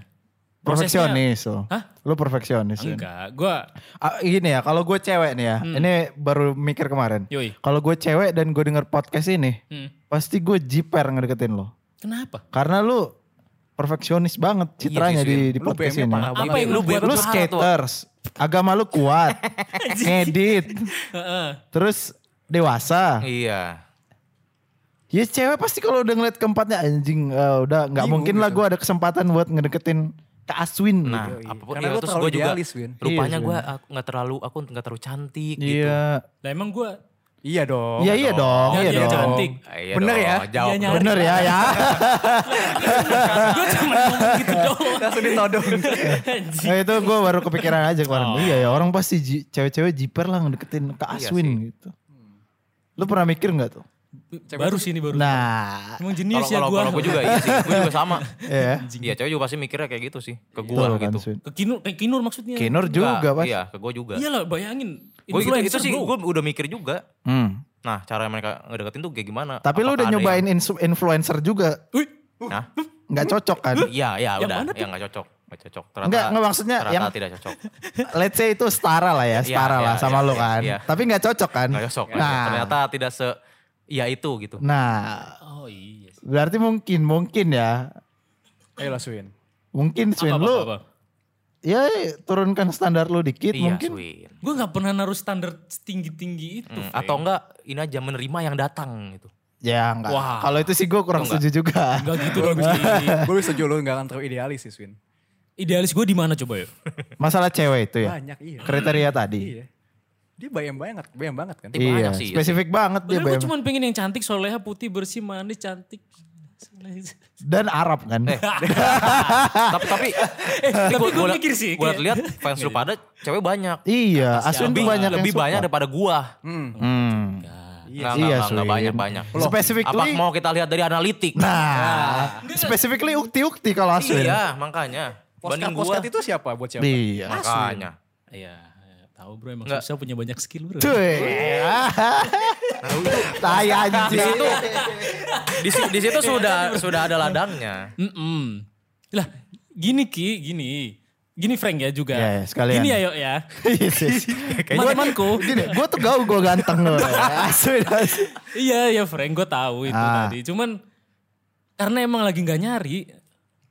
prosesnya- perfeksionis lo Hah? lo perfeksionis ya. Enggak, gue Ah, gini ya kalau gue cewek nih ya ini baru mikir kemarin Yoi. kalau gue cewek dan gue denger podcast ini Hmm. pasti gue jiper ngedeketin lo kenapa? karena lu perfeksionis banget Iya, citranya ya ya. di, di Lu podcast BM-nya ini parah Apa yang lu buat? lu skaters agama lu kuat ngedit Heeh. terus dewasa Iya. ya cewek pasti kalau udah ngeliat keempatnya anjing eh, udah nggak Bingung mungkin lah gitu. gue ada kesempatan buat ngedeketin ke Aswin Nah, gitu. apapun Karena iya, lu terus terlalu gue juga idealis, Win. rupanya Iya, gue aku nggak terlalu aku nggak terlalu cantik gitu. iya Lah emang gue Iya dong. Iya, iya dong, Dan iya dia dong. cantik. Iya Bener dong, ya? Jawab Iya, dong. Bener ya ya. Gue cuma ngomong gitu doang. Langsung ditodong. Anjing. Nah, itu gue baru kepikiran aja kemarin. Oh. Iya ya orang pasti ji- cewek-cewek jiper lah ngedeketin ke Iya Aswin gitu. Lu pernah mikir nggak tuh? baru sih ini baru. Nah, Emang Kalau jenius ya kalau gue. kalau gue juga iya sih, gue juga sama. ya. Iya, cewek juga pasti mikirnya kayak gitu sih, ke Betul gua kan, gitu. Swin? Ke Kinur, ke Kinur maksudnya. Kinur juga Enggak, pas. Iya, ke gua juga. Iyalah bayangin. Gua gitu, itu Influencer sih bro. gue udah mikir juga. Hmm. Nah, cara mereka ngedeketin tuh kayak gimana? Tapi lu Apakah udah ada nyobain yang- insu- influencer juga Wih, Nah, nggak cocok kan? iya, iya, Yang udah. mana Yang nggak cocok, nggak cocok. Ternyata, Enggak, enggak maksudnya ternyata yang tidak cocok. let's say itu setara lah ya, Iya, setara iya, lah sama iya, lu iya, kan. iya. Tapi nggak cocok kan? Nggak cocok. Nah, Ternyata tidak se, ya itu gitu. nah oh iya sih. berarti mungkin mungkin ya, Ayo lah Iya. Swin. mungkin Swin lu ya turunkan standar lu dikit Iya, mungkin. Swin. Gue gak pernah naruh standar setinggi-tinggi itu. Hmm, Fe. Atau enggak ini aja menerima yang datang gitu. Ya enggak. Wah. Kalau itu sih gue kurang Enggak. setuju juga. Enggak gitu dong sih. Gue bisa setuju lu gak akan terlalu idealis sih Swin. Idealis gue di mana coba ya? Masalah cewek itu ya. Banyak iya. Kriteria tadi. Iya. Dia bayam banget, bayam banget kan. Iya. Iya, Banyak sih, iya spesifik banget dia. Padahal gue Bem. cuma pengen yang cantik, soleha, putih, bersih, manis, cantik. Dan Arab kan. Eh. tapi tapi Eh, tapi gua- gue gua- mikir sih. Gua kayak- lihat fans lu pada cewek banyak. Iya, Aswin tuh lebih banyak lebih yang suka. banyak daripada gua. Nah, Hmm. Hmm. Enggak, Iya, enggak, enggak Swin. banyak banyak. Apa Specifically, mau kita lihat dari analitik? nah, specifically ukti-ukti kalau Aswin. iya, makanya. Postcard, Banding gua. postcard itu siapa buat siapa? Iya. Makanya. Iya, tahu bro emang Enggak. susah punya banyak skill bro. Cuy. Tai Di anjing. situ di, si- di situ sudah sudah ada ladangnya. Mm-mm. Lah, gini Ki, gini. Gini Frank ya juga. Ya, ya, sekalian. Gini ayo ya. Yes, yes. Temanku. Iya Gini, gue tuh gaul gue ganteng loh. Aswin, Aswin. Iya, ya Frank gue tahu itu Ah. tadi. Cuman karena emang lagi nggak nyari.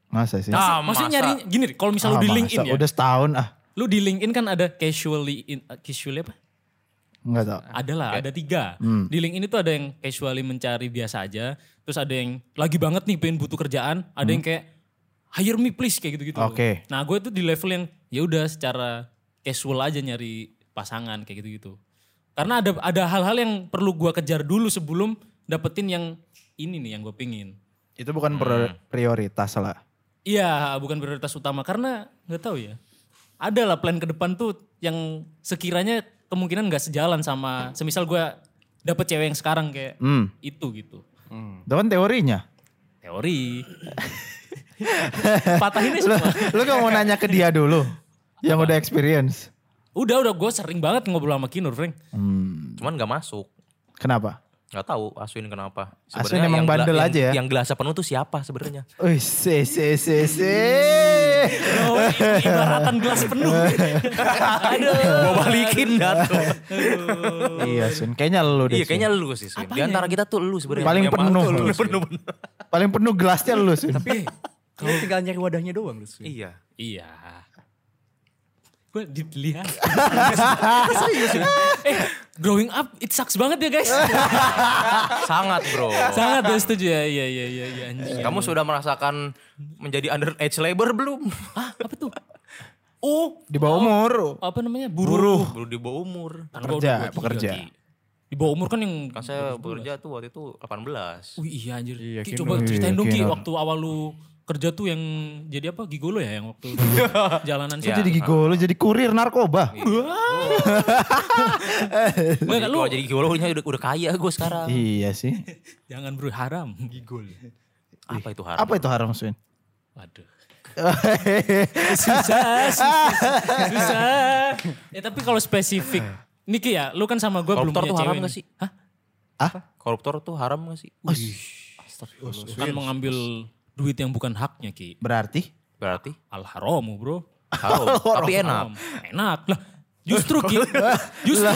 Masa sih? Ah, Maksudnya masa? nyari gini, kalau misal lu Ah, di masa? LinkedIn ya. Udah setahun ah. Lu di LinkedIn kan ada casually in, uh, casually apa? Enggak tau. Ada lah, ada tiga. Di LinkedIn itu ada yang casually mencari biasa aja. Terus ada yang lagi banget nih pengen butuh kerjaan. Ada yang kayak hire me please kayak gitu-gitu. Oke. Nah gue tuh di level yang ya udah secara casual aja nyari pasangan kayak gitu-gitu. Karena ada ada hal-hal yang perlu gue kejar dulu sebelum dapetin yang ini nih yang gue pingin. Itu bukan prior- prioritas lah. Iya, bukan prioritas utama karena nggak tahu ya. Ada lah plan ke depan tuh yang sekiranya kemungkinan nggak sejalan sama semisal gua dapet cewek yang sekarang kayak Hmm. itu gitu. Itu kan teorinya. Teori. Patahinnya semua. Lu gak mau nanya ke dia dulu? Yang udah experience. Udah udah gue sering banget ngobrol sama Kinur, Frank. Hmm. Cuman nggak masuk. Kenapa? Nggak tahu Aswin kenapa. Aswin emang yang gela- bandel yang- aja ya? Yang gelasnya penuh tuh siapa sebenarnya? Wih, se se se se. Oh, ibaratan gelas penuh. Aduh, mau balikin dah tuh. Iya, Sun. Kayaknya lu deh. Iya, kayaknya lu sih, Swin. Di antara kita tuh lu sebenarnya. Paling Yang penuh. masuk tuh Lu, penuh, penuh. Sun. Paling penuh gelasnya lu, Sun. Tapi kalau tinggal nyari wadahnya doang lu Swin. Iya. Iya. Gue dilihat. Serius ya? Eh, growing up it sucks banget ya guys. Sangat, Bro. Sangat ya setuju ya. Iya iya iya iya anjing. Kamu sudah merasakan menjadi underage labor belum? Hah, apa tuh? Oh, Di bawah umur. Apa namanya? Buruh. baru di bawah umur. Kan gua udah Pekerja, dua tiga. pekerja. Di bawah umur kan yang Kan saya bekerja tuh waktu itu 18. Wih, iya anjir. Iya, Ki, Kinur. coba ceritain Iya, dong Ki Kinur. waktu awal lu kerja tuh yang jadi apa? Gigolo ya yang waktu jalanan Iya. sih. Jadi gigolo, jadi kurir narkoba. Enggak Jadi lu kalau jadi gigolonya udah, udah kaya gue sekarang. Iya sih. jangan bro haram. Gigol. Apa itu harap? Apa itu haram, Sun? Waduh. susah, susah, susah. Ya tapi kalau spesifik, Niki ya, lu kan sama gue belum Koruptor punya tuh haram cewek. gak nih. sih? Hah? Koruptor tuh haram gak sih? Kan mengambil duit yang bukan haknya Ki. Berarti? Berarti Al haramu bro. haram. Tapi enak. Haram. Enak lah. Justru Ki, justru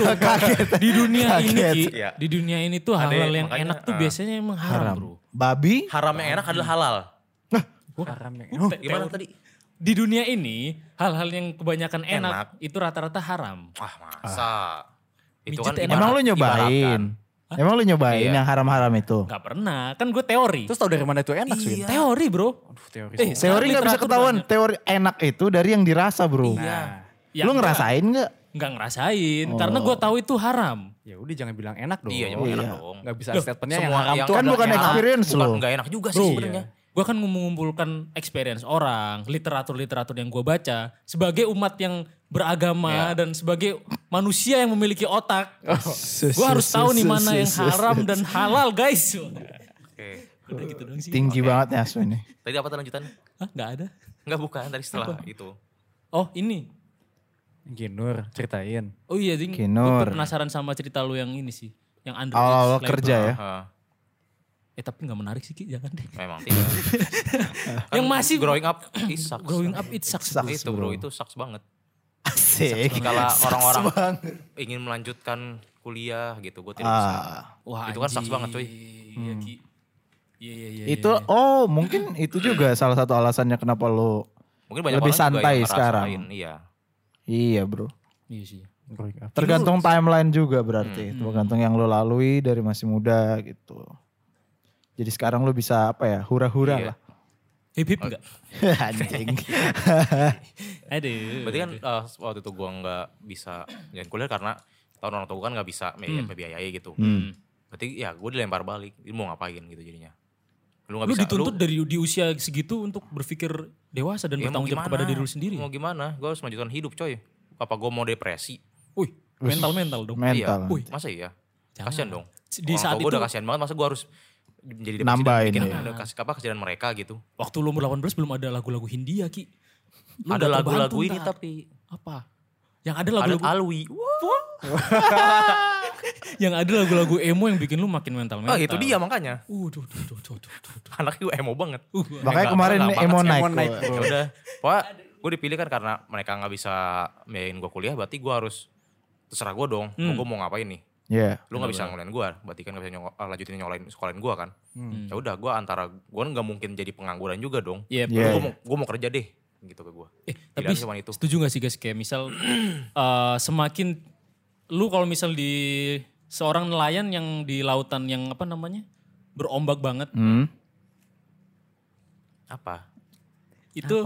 di dunia ini Ki, Iya. di dunia ini tuh Ada hal-hal yang- yang makanya, enak tuh ah. biasanya emang haram, bro. Babi? Haram yang enak adalah halal. Haram ya. Oh, Gimana tadi? Di dunia ini hal-hal yang kebanyakan enak, Enak. itu rata-rata haram. Wah masa. Itu kan Mijit enak. Emang lu ibarat- nyobain? ibaratkan. Emang lu nyobain Iya. yang haram-haram itu? Gak pernah, kan gue teori. Terus tau dari mana itu enak Iya. Swin? Teori bro. Aduh, teori. Eh, semua. Teori nggak bisa Literatur ketahuan. Teori enak itu dari yang dirasa, bro. Nah, Ya lu enggak. ngerasain nggak? nggak ngerasain karena gue tahu itu haram. Ya udah jangan bilang enak dong. Iya, emang Iya. enak dong. Gak bisa Loh, statementnya yang haram tuh Kan adalah bukan enak. experience bukan loh. nggak enak juga sih Bro, sebenarnya. gue kan mengumpulkan experience orang, literatur-literatur yang gue baca sebagai umat yang beragama Iya. dan sebagai manusia yang memiliki otak. Oh. gue harus tahu nih mana yang haram dan halal, guys. Oke. Udah gitu dong sih. Tinggi banget nih asu ini. Tadi apa tadi lanjutannya? Hah, nggak ada. Enggak bukan tadi setelah itu. Oh, ini. Ginur ceritain. Oh iya, Ding. Kinur. Gue penasaran sama cerita lu yang ini sih. Yang under Awal-awal kerja ya. Heeh. Eh tapi nggak menarik sih, Ki. Jangan deh. memang Iya. tidak. Kan Yang masih- growing up it sucks. Growing up it sucks. Sucks. itu bro, itu sucks banget. Asik. Ah. Kala orang-orang ingin melanjutkan kuliah gitu, gue tidak bisa. Ah. Wah, Itu kan Hmm. sucks anjing. banget, cuy. Iya, Ki. Iya, iya, iya. Itu oh mungkin itu juga salah satu alasannya kenapa lo Mungkin banyak Lebih orang juga santai yang ngerasain, sekarang. Iya. Iya bro. Iya sih. Growing up. Tergantung timeline juga berarti. Tergantung yang lo lalui dari masih muda gitu. Jadi sekarang lo bisa apa ya hura-hura Iya. lah. Hip hip enggak? Anjing. Aduh. Berarti Iya, kan eh, waktu itu gue nggak bisa jalan kuliah karena tahun orang tua gue kan nggak bisa Hmm. me- membiayai gitu. Berarti ya gue dilempar balik, Ini mau ngapain gitu jadinya. Lu lu nggak bisa. dituntut dari di usia segitu untuk berpikir dewasa dan ya mau bertanggung jawab gimana? kepada diri lu sendiri. Mau gimana? Gue harus melanjutkan hidup coy. Apa gue mau depresi? Wih, mental-mental dong. Mental. Iya. Wih, masa iya? Jangan. Kasian dong. Di saat gue itu- udah kasihan banget, masa gue harus jadi depresi Nambahin, dan bikin iya. ada kas- apa kasihan mereka gitu. Waktu lu umur 18 belum ada lagu-lagu Hindia, Ki. Lu ada nggak lagu-lagu terbantu, ini Tat. tapi Apa? Yang ada ada lagu-lagu Alwi. Wah, yang ada lagu-lagu emo yang bikin lu makin mental-mental. ah, itu dia makanya. Uh, duh, duh, duh, duh, duh, duh. Anaknya gue emo banget. Uh, Makanya Enggak, kemarin enggak emo banget sih, naik. emo naik, gua. ya udah pokoknya gue dipilih kan karena mereka nggak bisa biayain gue kuliah berarti gue harus terserah gue dong Hmm. gue mau ngapain nih Iya. lu nggak bisa ngolain gue berarti kan nggak bisa nyong- eh, lanjutin nyolain sekolahin gue kan Hmm. ya udah gue antara gue nggak mungkin jadi pengangguran juga dong Yep. Iya, gue mau gue mau kerja deh gitu ke gue Eh, tapi Pilihan cuma itu. setuju gak sih guys kayak misal eh, semakin lu kalau misal di seorang nelayan yang di lautan yang apa namanya berombak banget Hmm. apa itu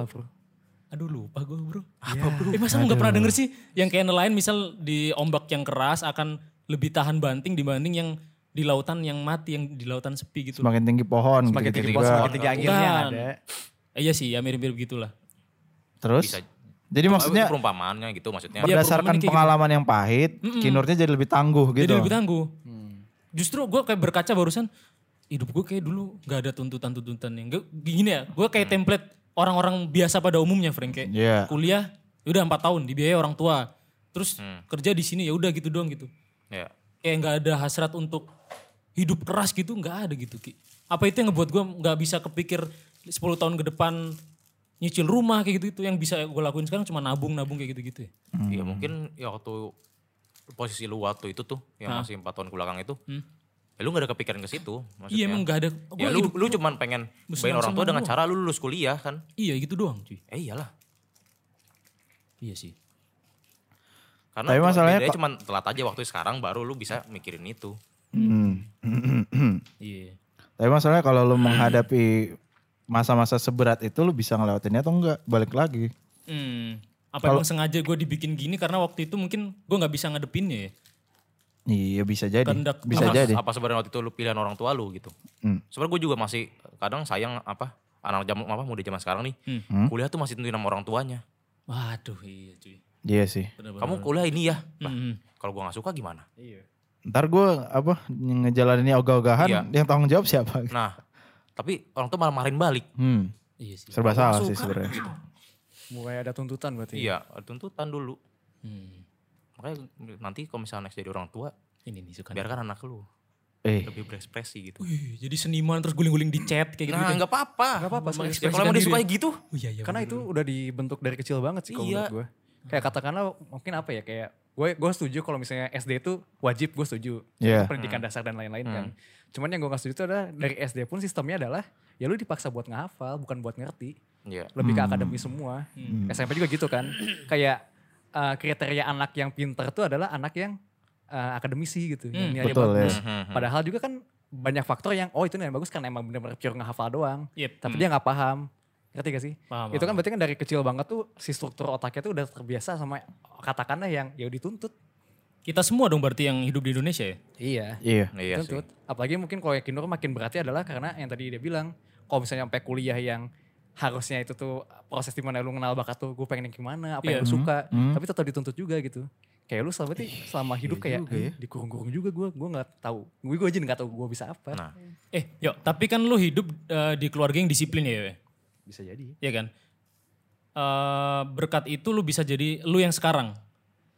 aduh lupa gue bro apa bro eh, masa lu nggak pernah denger sih yang kayak nelayan misal di ombak yang keras akan lebih tahan banting dibanding yang di lautan yang mati yang di lautan sepi gitu Semakin tinggi pohon. Semakin gitu-gitu tinggi juga. pohon, semakin tinggi anginnya yang Bukan. ada. Eh, iya sih ya mirip-mirip gitulah Terus. Bisa. Jadi maksudnya Itu perumpamaannya gitu maksudnya Iya, berdasarkan performanya kayak pengalaman yang pahit, kinurnya jadi lebih tangguh gitu. Jadi lebih tangguh. Justru gue kayak berkaca barusan, hidup gue kayak dulu gak ada tuntutan-tuntutan yang gak, gini ya. Gue kayak template orang-orang biasa pada umumnya, Frank. Kayak Iya. kuliah, ya udah empat tahun dibiayai orang tua. Terus kerja di sini ya udah gitu doang gitu. ya Kayak nggak ada hasrat untuk hidup keras gitu, nggak ada gitu ki. Apa itu yang ngebuat gue nggak bisa kepikir 10 tahun ke depan nyicil rumah kayak gitu-gitu. Yang bisa gue lakuin sekarang cuma nabung-nabung kayak gitu-gitu ya. Hmm. Iya mungkin ya waktu posisi lu waktu itu tuh yang masih empat tahun ke belakang itu Hmm. ya lu gak ada kepikiran ke situ maksudnya Iya emang nggak ada. Gua ya lu hidup- lu cuman pengen bayain orang tua dengan cara lu lulus kuliah kan Iya gitu doang cuy. eh iyalah Iya sih. karena Tapi cuma- masalahnya bedanya kok- cuman telat aja waktu sekarang baru lu bisa mikirin itu Iya. Tapi masalahnya kalau lu menghadapi masa-masa seberat itu lu bisa ngelewatinnya atau enggak? Balik lagi. Hmm. Apa emang sengaja gue dibikin gini karena waktu itu mungkin gue nggak bisa ngadepinnya ya. Iya bisa jadi. Kehendak Bisa Allah. jadi. apa sebenarnya waktu itu lu pilihan orang tua lu gitu Hmm. sebenarnya gue juga masih kadang sayang apa anak jam apa muda zaman sekarang nih Hmm. kuliah tuh masih tentuin sama orang tuanya Waduh iya cuy. Iya sih. kamu kuliah ini ya Lah, Hmm. kalau gue nggak suka gimana Iya. Ntar gue apa ngejalaninnya ogah-ogahan Iya. yang tanggung jawab siapa? nah tapi orang tua malah marahin balik Hmm. Iya sih. Serba salah sih sebenarnya. Mulai ada tuntutan berarti. iya tuntutan dulu Hmm. makanya nanti kalau misalnya next jadi orang tua Ini nih Kan. suka. biarkan anak lu Eh, lebih berekspresi gitu Wih, jadi seniman terus guling-guling di chat kayak gitu. nah nggak apa-apa kan. Nggak apa-apa, Emang serius. kalau emang dia suka gitu Oh iya iya. Karena itu udah dibentuk dari kecil banget sih kalau Iya. menurut gue. Kayak katakanlah mungkin apa ya kayak gue gue setuju kalau misalnya SD itu wajib gue setuju. Iya. Itu Pendidikan dasar dan lain-lain kan. Cuman yang gue gak setuju itu adalah dari SD pun sistemnya adalah ya lu dipaksa buat ngehafal bukan buat ngerti. iya Lebih Hmm. ke akademi semua. SMP juga gitu kan. kayak eh, kriteria anak yang pinter tuh adalah anak yang eh, akademisi gitu. yang nilainya Betul, bagus. ya. Padahal juga Iya, kan banyak faktor yang oh itu nilai bagus karena emang bener-bener pure ngehafal doang. Yep. Tapi dia nggak paham. Ngerti gak sih? Hmm. Paham, itu kan berarti kan dari kecil banget tuh si struktur otaknya tuh udah terbiasa sama katakanlah yang ya dituntut. Kita semua dong berarti yang hidup di Indonesia ya? Iya. Iya. Iya sih. dituntut. Apalagi mungkin kalau Yakinur makin beratnya adalah karena yang tadi dia bilang kalau misalnya sampai kuliah yang harusnya itu tuh proses dimana lu kenal bakat tuh gue pengen yang gimana, apa Iya. yang lu suka. Tapi tetap dituntut juga gitu. Kayak lu selama, selama hidup kayak "Ih, dikurung-kurung juga gue, gue gak tahu. Gue gue aja gak tahu gue bisa apa. Nah, Eh, yuk, tapi kan lu hidup eh, di keluarga yang disiplin ya, ya? Bisa jadi. Iya kan? Eh, berkat itu lu bisa jadi lu yang sekarang.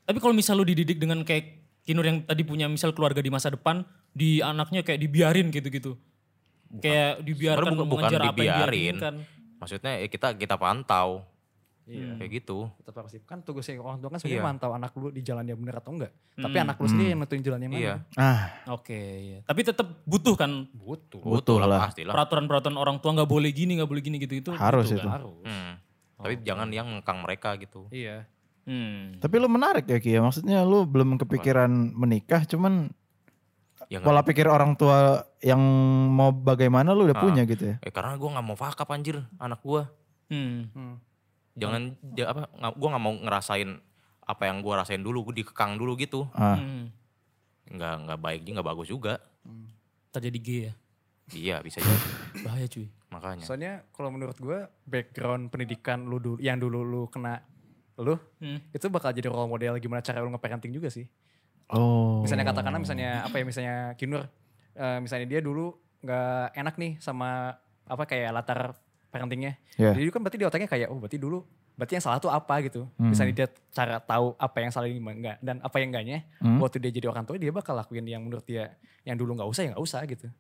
Tapi kalau misal lu dididik dengan kayak Kinur yang tadi punya misal keluarga di masa depan, di anaknya kayak dibiarin gitu-gitu. Kayak dibiarkan Sebenarnya bukan, bukan mengejar apa yang dia dibiarin. inginkan. Maksudnya ya kita kita pantau. Iya. Kayak gitu. Tetap harus kan tugas yang orang tua kan sebenarnya Iya. Hmm. mantau anak lu di jalan yang benar atau enggak. Tapi anak lu sendiri yang nentuin jalan yang mana. Iya. Ah, Oke, iya. Tapi tetap butuh kan Butuh. Butuh lah. lah pastilah. peraturan-peraturan orang tua nggak boleh gini, nggak boleh gini gitu-gitu. harus butuh itu. kan? Harus. Hmm. Tapi Oh. jangan yang ngekang mereka gitu. Iya. Hmm. Tapi lu menarik ya Ki ya. Maksudnya lu belum kepikiran menikah cuman Ya, nggak- pola pikir orang tua yang mau bagaimana lu udah Ah. punya gitu ya. eh, karena gue nggak mau fakap anjir anak gue. Hmm. Hmm. Jangan ja- apa gue nggak mau ngerasain apa yang gue rasain dulu, gue dikekang dulu gitu. Ah. Hmm. Nggak nggak baik juga, nggak bagus juga. Terjadi gay ya. Iya bisa jadi. Bahaya cuy. Makanya. Soalnya kalau menurut gue background pendidikan lu dulu, yang dulu lu kena lu Hmm. itu bakal jadi role model gimana cara lu nge-parenting juga sih. Oh. Misalnya katakanlah misalnya apa ya misalnya Kinur eh, misalnya dia dulu nggak enak nih sama apa kayak latar parentingnya. Iya. Jadi kan berarti di otaknya kayak oh berarti dulu berarti yang salah tuh apa gitu. Hmm. Misalnya dia cara tahu apa yang salah ini enggak dan apa yang enggaknya. Hmm. Waktu dia jadi orang tua dia bakal lakuin yang menurut dia yang dulu nggak usah ya nggak usah gitu.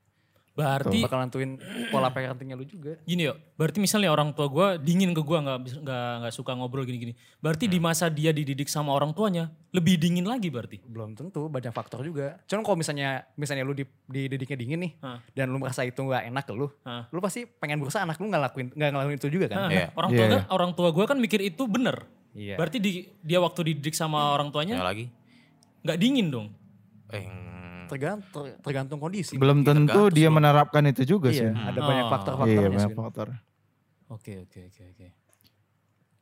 Berarti Bakal nentuin pola parentingnya lu juga. gini yo, berarti misalnya orang tua gue dingin ke gue nggak bis- nggak nggak suka ngobrol gini-gini. Berarti di masa dia dididik sama orang tuanya lebih dingin lagi berarti. belum tentu banyak faktor juga. Cuman kalau misalnya misalnya lu di, didiknya dingin nih Hah. dan lu merasa itu nggak enak ke lu, Hah. lu pasti pengen berusaha anak lu nggak lakuin nggak ngelakuin itu juga kan? Nah, Iya. Orang tua Iya, kan orang tua gue kan mikir itu bener. Iya. Berarti di- dia waktu dididik sama orang Ya tuanya lagi. nggak dingin dong. Eh, Tergantung tergantung kondisi. Belum tentu dia menerapkan itu juga sih. Iya, ada Ah. banyak Iya, faktor-faktornya. banyak Swin. faktor. Oke oke oke oke.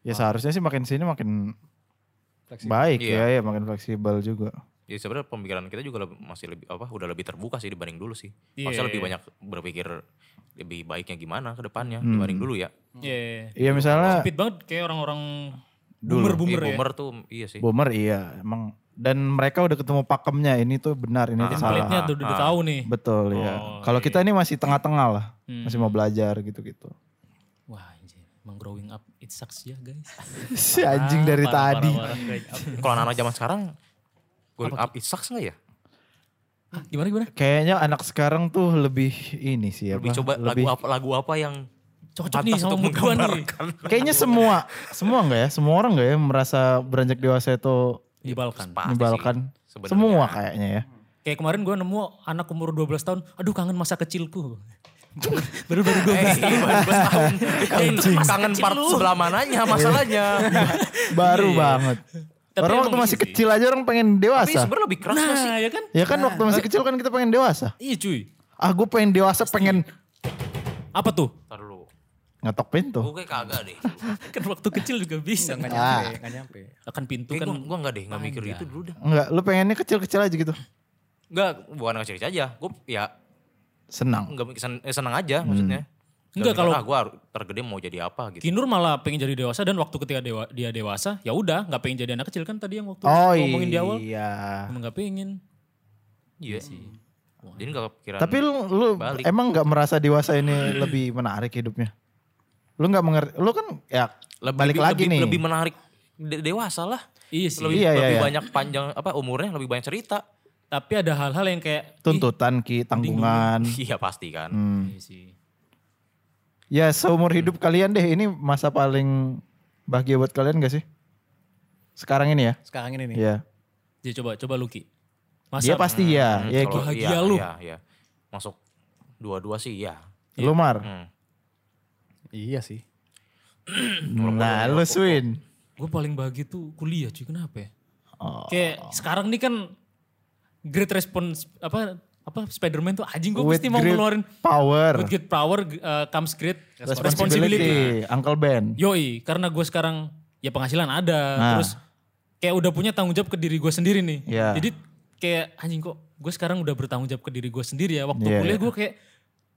Ya seharusnya sih makin sini makin Fleksibel. baik Iya. ya, ya makin fleksibel juga. Jadi ya sebenarnya pemikiran kita juga lebih- masih lebih apa udah lebih terbuka sih dibanding dulu sih. Iya, Maksudnya lebih iya. banyak berpikir lebih baiknya gimana ke depannya dibanding dulu ya. Iya. iya. Iya misalnya Sempit banget kayak orang-orang Dulu. boomer Iya, boomer ya. boomer tuh iya sih. Boomer iya emang dan mereka udah ketemu pakemnya ini tuh benar ini tuh salah. Template-nya tuh udah Ah. udah tahu nih. Betul ya. Oh, Kalau kita ini masih tengah-tengah lah, Hmm. masih mau belajar gitu-gitu. Wah anjir, emang growing up it sucks ya guys. Si anjing dari Parah, tadi. parah, parah. Kalau anak-anak zaman sekarang growing up it sucks nggak ya? Hah, Gimana gimana? Kayaknya anak sekarang tuh lebih ini sih ya. Lebih coba lagu apa lagu apa yang Cocok nih pantas sama untuk mood gue nih. menggambarkan. Kayaknya semua, semua enggak ya? Semua orang enggak ya merasa beranjak dewasa itu Dibalkan. Pasti menyebalkan? sih, sebenarnya. Semua kayaknya ya. Kayak kemarin gue nemu anak umur 12 tahun, aduh kangen masa kecilku. baru baru eh, 12 tahun. Kangen, kangen part sebelah mananya masalahnya. Baru Iya. banget. Tapi orang emang waktu masih gitu sih. kecil aja orang pengen Tapi dewasa. sebenarnya iya. lebih keras Nah, nggak sih. ya kan? Ya kan waktu masih kecil kan kita pengen dewasa. Iya cuy. Ah gue pengen dewasa pengen Apa tuh? Ntar dulu. ngetok pintu. Gue kayak kagak deh. Kan waktu kecil juga bisa. Ah. Nggak nyampe, nggak nyampe. Akan pintu Kayak kan. gue gue nggak deh nggak mikir panjang. itu dulu dah. Enggak, lu pengennya kecil-kecil aja gitu. Enggak, bukan kecil aja. Gue ya Senang. nggak sen, eh, senang aja maksudnya. Enggak, kalau- Iya gue tergede mau jadi apa gitu. Kinur malah pengen jadi dewasa dan waktu ketika dewa, dia dewasa, ya udah nggak pengen jadi anak kecil kan tadi yang waktu Oh ngomongin di awal. iya. Emang nggak pengen. Iya sih. Jadi gak kepikiran. Tapi lu, lu Balik. emang nggak merasa dewasa ini lebih menarik hidupnya? Lu nggak mengerti, lu kan ya Lebih- balik lebih- lagi lebih, nih. lebih menarik de- dewasa lah. Iya sih. Lebih, Iya, iya, lebih iya. banyak panjang apa umurnya lebih banyak cerita. Tapi ada hal-hal yang kayak. ih, tuntutan ki tanggungan. Iya pasti kan. Hmm. Iya sih. Ya seumur hidup kalian deh ini masa paling bahagia buat kalian gak sih? Sekarang ini ya? Sekarang ini nih. Iya. Jadi coba coba Luki. Dia pasti ya. Hmm, ya kalau- Ki. bahagia iya, lu. Iya, iya. Masuk dua-dua sih ya. Lu Mar. Hmm. Iya sih. Nah, lu Swin. Gue paling bahagia tuh kuliah cuy. Kenapa ya? Oh. Kayak sekarang nih kan great response apa apa Spider-Man tuh anjing gue With pasti mau great ngeluarin power. with great power uh, comes great responsibility. Responsibility. Uncle Ben. Yoi, karena gue sekarang ya penghasilan ada, Nah. terus kayak udah punya tanggung jawab ke diri gue sendiri nih. Iya. Jadi kayak anjing kok gue sekarang udah bertanggung jawab ke diri gue sendiri ya. Waktu Iya. kuliah gue kayak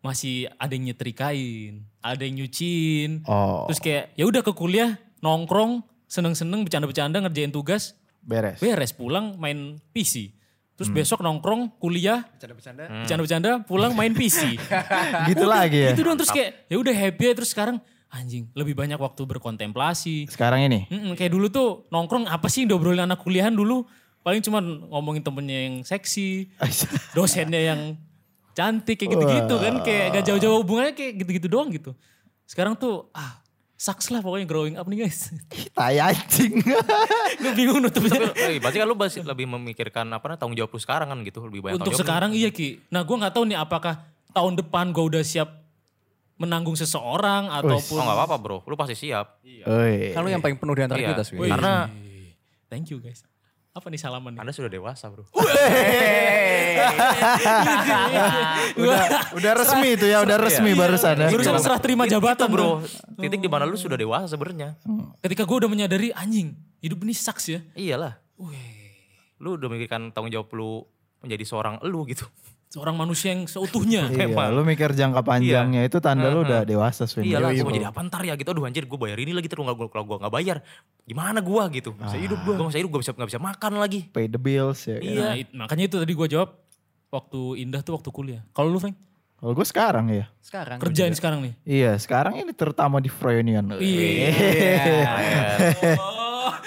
masih ada yang nyetrikain, ada yang nyuciin. Oh, Terus kayak ya udah ke kuliah nongkrong, seneng-seneng bercanda-bercanda ngerjain tugas, beres. beres pulang main PC. Terus besok nongkrong, kuliah, Bercanda-bercanda. bercanda-bercanda, pulang main PC. Gitu lagi ya. Itu doang terus kayak ya udah happy aja. terus sekarang anjing lebih banyak waktu berkontemplasi. Sekarang ini. Mm-mm, kayak dulu tuh nongkrong apa sih yang diobrolin anak kuliahan dulu? Paling cuma ngomongin temennya yang seksi, dosennya yang cantik kayak gitu-gitu kan. Kayak gak jauh-jauh hubungannya kayak gitu-gitu doang gitu. Sekarang tuh ah sucks lah pokoknya growing up nih guys. Tai anjing. Gue bingung nutupnya. Tapi berarti kan lu bas- lebih memikirkan apa nah, tanggung jawab lu sekarang kan gitu lebih banyak Untuk tanggung jawab. sekarang iya Ki. Nah gue gak tahu nih apakah tahun depan gue udah siap menanggung seseorang Oh ataupun... nggak apa-apa bro, lu pasti siap. Iya. Oi. Kan lu yang paling penuh di antara Iya. kita, Swi. Wih. Karena- Thank you guys. Apa nih salaman nih? Anda sudah dewasa bro. Udah. Udah resmi itu ya, udah Iya, resmi barusan ya. Barusan serah terima jabatan bro. bro, titik di mana lu sudah dewasa sebenarnya. Ketika gue udah menyadari anjing hidup ini sucks ya. Iyalah. Lu udah memikirkan tanggung jawab lu menjadi seorang elu gitu. Seorang manusia yang seutuhnya. Iya, lu mikir jangka Iya. panjangnya itu tanda lu udah dewasa Swin. Iya. Iyalah, gue Iya, jadi apa ntar ya gitu. Aduh anjir gue bayar ini lagi terus nggak- gua- kalau gue nggak bayar gimana gue gitu. Gak bisa hidup gue. Gue bisa hidup, gue bisa nggak bisa makan lagi. Pay the bills ya. kan. Nah, it- makanya itu tadi gue jawab waktu indah tuh waktu kuliah. Kalau lu Frank Kalau gue sekarang ya. Sekarang. kerjain sekarang nih. Iya, sekarang ini terutama di Froyonian. Iya. Iya.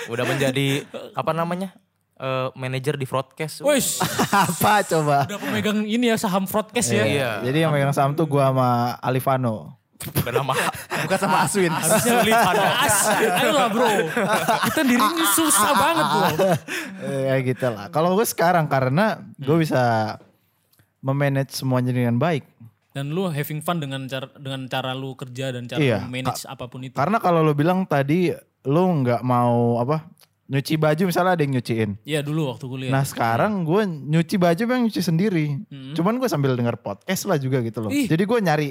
Udah menjadi apa namanya? Eh manajer di broadcast. Wes, Apa coba? udah pemegang ini ya saham broadcast ya. Iya. Jadi yang megang saham tuh gua sama Alifano. Udah nama Bukan sama Aswin. Harusnya beli panas. Ayolah bro. Kita dirinya susah banget bro. Eh, ya gitu lah. Kalau gue sekarang karena gue Hmm. bisa memanage semuanya dengan baik. Dan lu having fun dengan cara dengan cara lu kerja dan cara Iya. lu manage apapun itu. Karena kalau lo bilang tadi lo nggak mau apa nyuci baju misalnya ada yang nyuciin. Iya dulu waktu kuliah. Nah sekarang gue nyuci baju yang nyuci sendiri. Cuman gue sambil denger podcast lah juga gitu loh. Ih. Jadi gue nyari.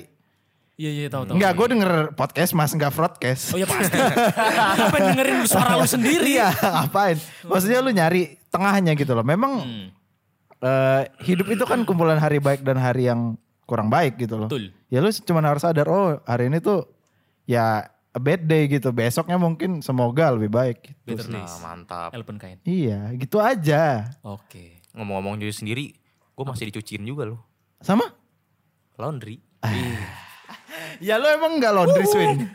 Iya iya tahu tahu. Enggak gue denger podcast mas nggak broadcast. Oh ya pasti. Ngapain dengerin suara lu sendiri? Iya ngapain. Maksudnya lu nyari tengahnya gitu loh. Memang Hmm. eh, hidup itu kan kumpulan hari baik dan hari yang kurang baik gitu loh. Betul. Ya lu cuman harus sadar oh hari ini tuh ya a bad day gitu. Besoknya mungkin semoga lebih baik. gitu. Better Nah, days. mantap. Elpen kain. Iya gitu aja. Oke. Ngomong-ngomong jadi sendiri, gue masih dicuciin juga loh. Sama? Laundry. Ya lu emang nggak laundry Swin?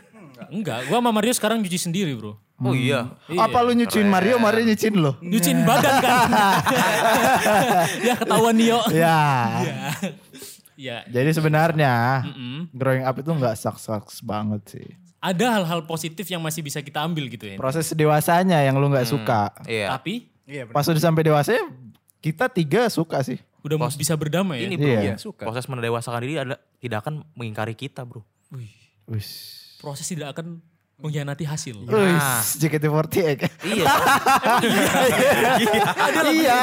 Enggak, gua sama Mario sekarang nyuci sendiri, Bro. Oh iya. Apa lu nyuciin Mario, Mario nyuciin lo? Nyuciin badan kan. ya ketahuan Nio. Ya. Iya. Ya. Jadi sebenarnya Mm-mm. growing up itu nggak sucks-sucks banget sih. Ada hal-hal positif yang masih bisa kita ambil gitu ya. Proses dewasanya yang lu nggak suka. Iya. Tapi Iya, benar. Pas udah sampai dewasanya kita tiga suka sih. udah bisa berdamai ya. Ini bro, Iya. ya, Suka. proses mendewasakan diri ada tidak akan mengingkari kita bro. Wih, Wis. proses tidak akan mengkhianati hasil. Wis, Ya. JKT48. Iya. iya.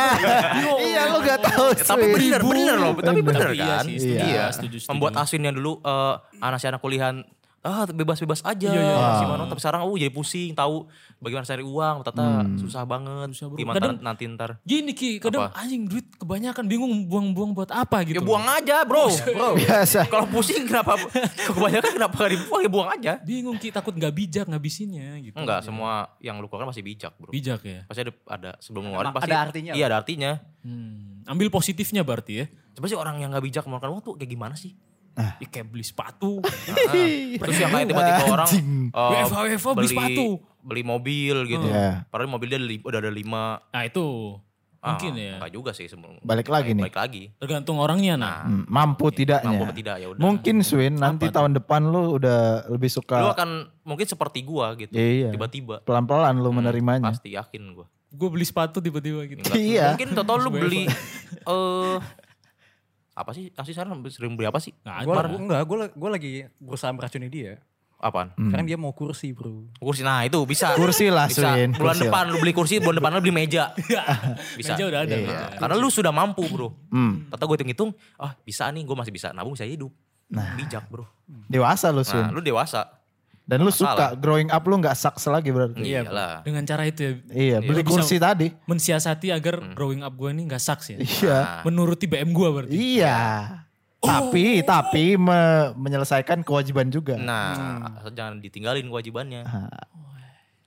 Iya, lu gak tahu sih. Ya, tapi bener, bener loh. Tapi bener Tapi iya kan. sih, setuju, Iya. setuju, setuju. Membuat Aswin yang dulu eh, anak si anak kuliahan ah bebas-bebas aja Iya, iya. Ah. gimana tapi sekarang oh jadi pusing tahu bagaimana cari uang tata Hmm. susah banget gimana Kadang- ntar- nanti ntar Gini Ki, kadang anjing duit kebanyakan bingung buang-buang buat apa gitu. ya buang aja bro bro Biasa. kalau pusing kenapa kebanyakan kenapa gak dibuang ya buang aja Bingung Ki, takut nggak bijak ngabisinnya gitu. enggak semua yang lu keluarkan masih bijak bro Bijak ya. pasti ada ada sebelum ngeluarin mak- pasti ada artinya. iya ada artinya Hmm, ambil positifnya berarti ya. coba sih orang yang gak bijak mengeluarkan uang tuh kayak gimana sih Nah. Ah. Ya kayak beli sepatu. Terus yang kayak tiba-tiba orang Anjing. eh, WFH, WFH, beli sepatu. beli mobil gitu. Iya. Padahal mobil dia li- udah ada lima. nah itu Ah, mungkin ya. Enggak juga sih sebelum. Balik lagi nih. Balik lagi. Tergantung orangnya nah. Hmm, Mampu tidaknya. Mampu apa tidak ya udah. Mungkin Swin nanti tahun depan lu udah lebih Lu suka akan mungkin seperti gua gitu. Iya. Tiba-tiba. pelan-pelan lu menerimanya. Hmm, Pasti yakin gua. Gue beli sepatu tiba-tiba gitu. Enggak- Iya. Mungkin total lu beli eh apa sih? Asli sekarang sering beli apa sih? Nggak ada. Gua, gua- enggak, gue lagi berusaha meracuni dia. Apaan? Hmm. Sekarang dia mau kursi bro. Kursi. Nah, itu bisa. Kursi lah, bisa. Swin, Bulan kursi depan lu beli kursi, bulan depan lu beli meja. bisa. Meja udah ada. Iya. meja. Karena lu sudah mampu, Bro. Hmm. Tata gue hitung-hitung, ah bisa nih, gue masih bisa nabung, bisa hidup. Nah. Bijak, Bro. Dewasa lu Nah, Sun. lu dewasa. Dan lu masalah. suka growing up lu nggak sucks lagi berarti. Iya lah. Dengan cara itu ya. Iya, beli Lu bisa kursi tadi. Mensiasati agar Hmm. growing up gue ini gak sucks ya. Iya. Nah. Menuruti BM gue berarti. Iya. Oh. Tapi tapi me- menyelesaikan kewajiban juga. Nah, Hmm. asal jangan ditinggalin kewajibannya.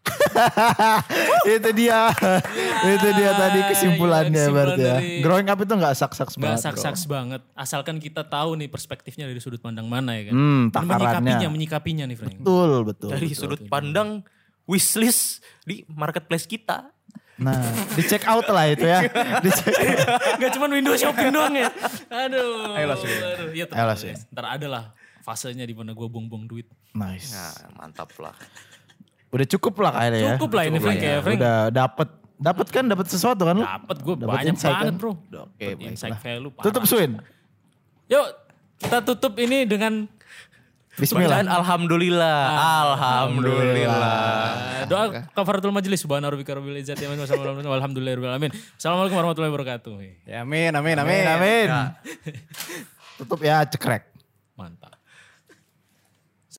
itu dia. itu dia Ah, tadi kesimpulannya iya, Kesimpulan berarti ya. dari- Growing up itu nggak sucks-sucks Gak banget. bro. sucks banget. Asalkan kita tahu nih perspektifnya dari sudut pandang mana ya kan. Hmm, Dan takarannya. Menyikapinya, menyikapinya nih Frank. Betul, betul. Dari sudut pandang wishlist di marketplace kita. Nah, di check out lah itu ya. Di check Gak cuma window shopping doang ya. Aduh. Ayolah, Sri. aduh. Iya, Ayolah, tenang Sri. ya. Ntar ada lah fasenya di mana gue buang-buang duit. Nice. Nah, mantap lah. Udah cukup lah kayaknya ya. Cukup lah ini Frank ya. Frank Udah dapet. Dapet kan, dapet sesuatu kan lu? dapat gue Dapet banyak insight banget kan? bro. Oke, Dapet baiklah. insight value. parah. Tutup Swin. Yuk kita tutup ini dengan Bismillah. Bacaan alhamdulillah. Alhamdulillah. eh, doa kafaratul majelis. Subhanallah rabbika rabbil izzati amma yasifun. Walhamdulillahirabbil alamin. Assalamualaikum warahmatullahi wabarakatuh. Ya amin, amin, amin. Amin. Tutup ya, cekrek. Mantap.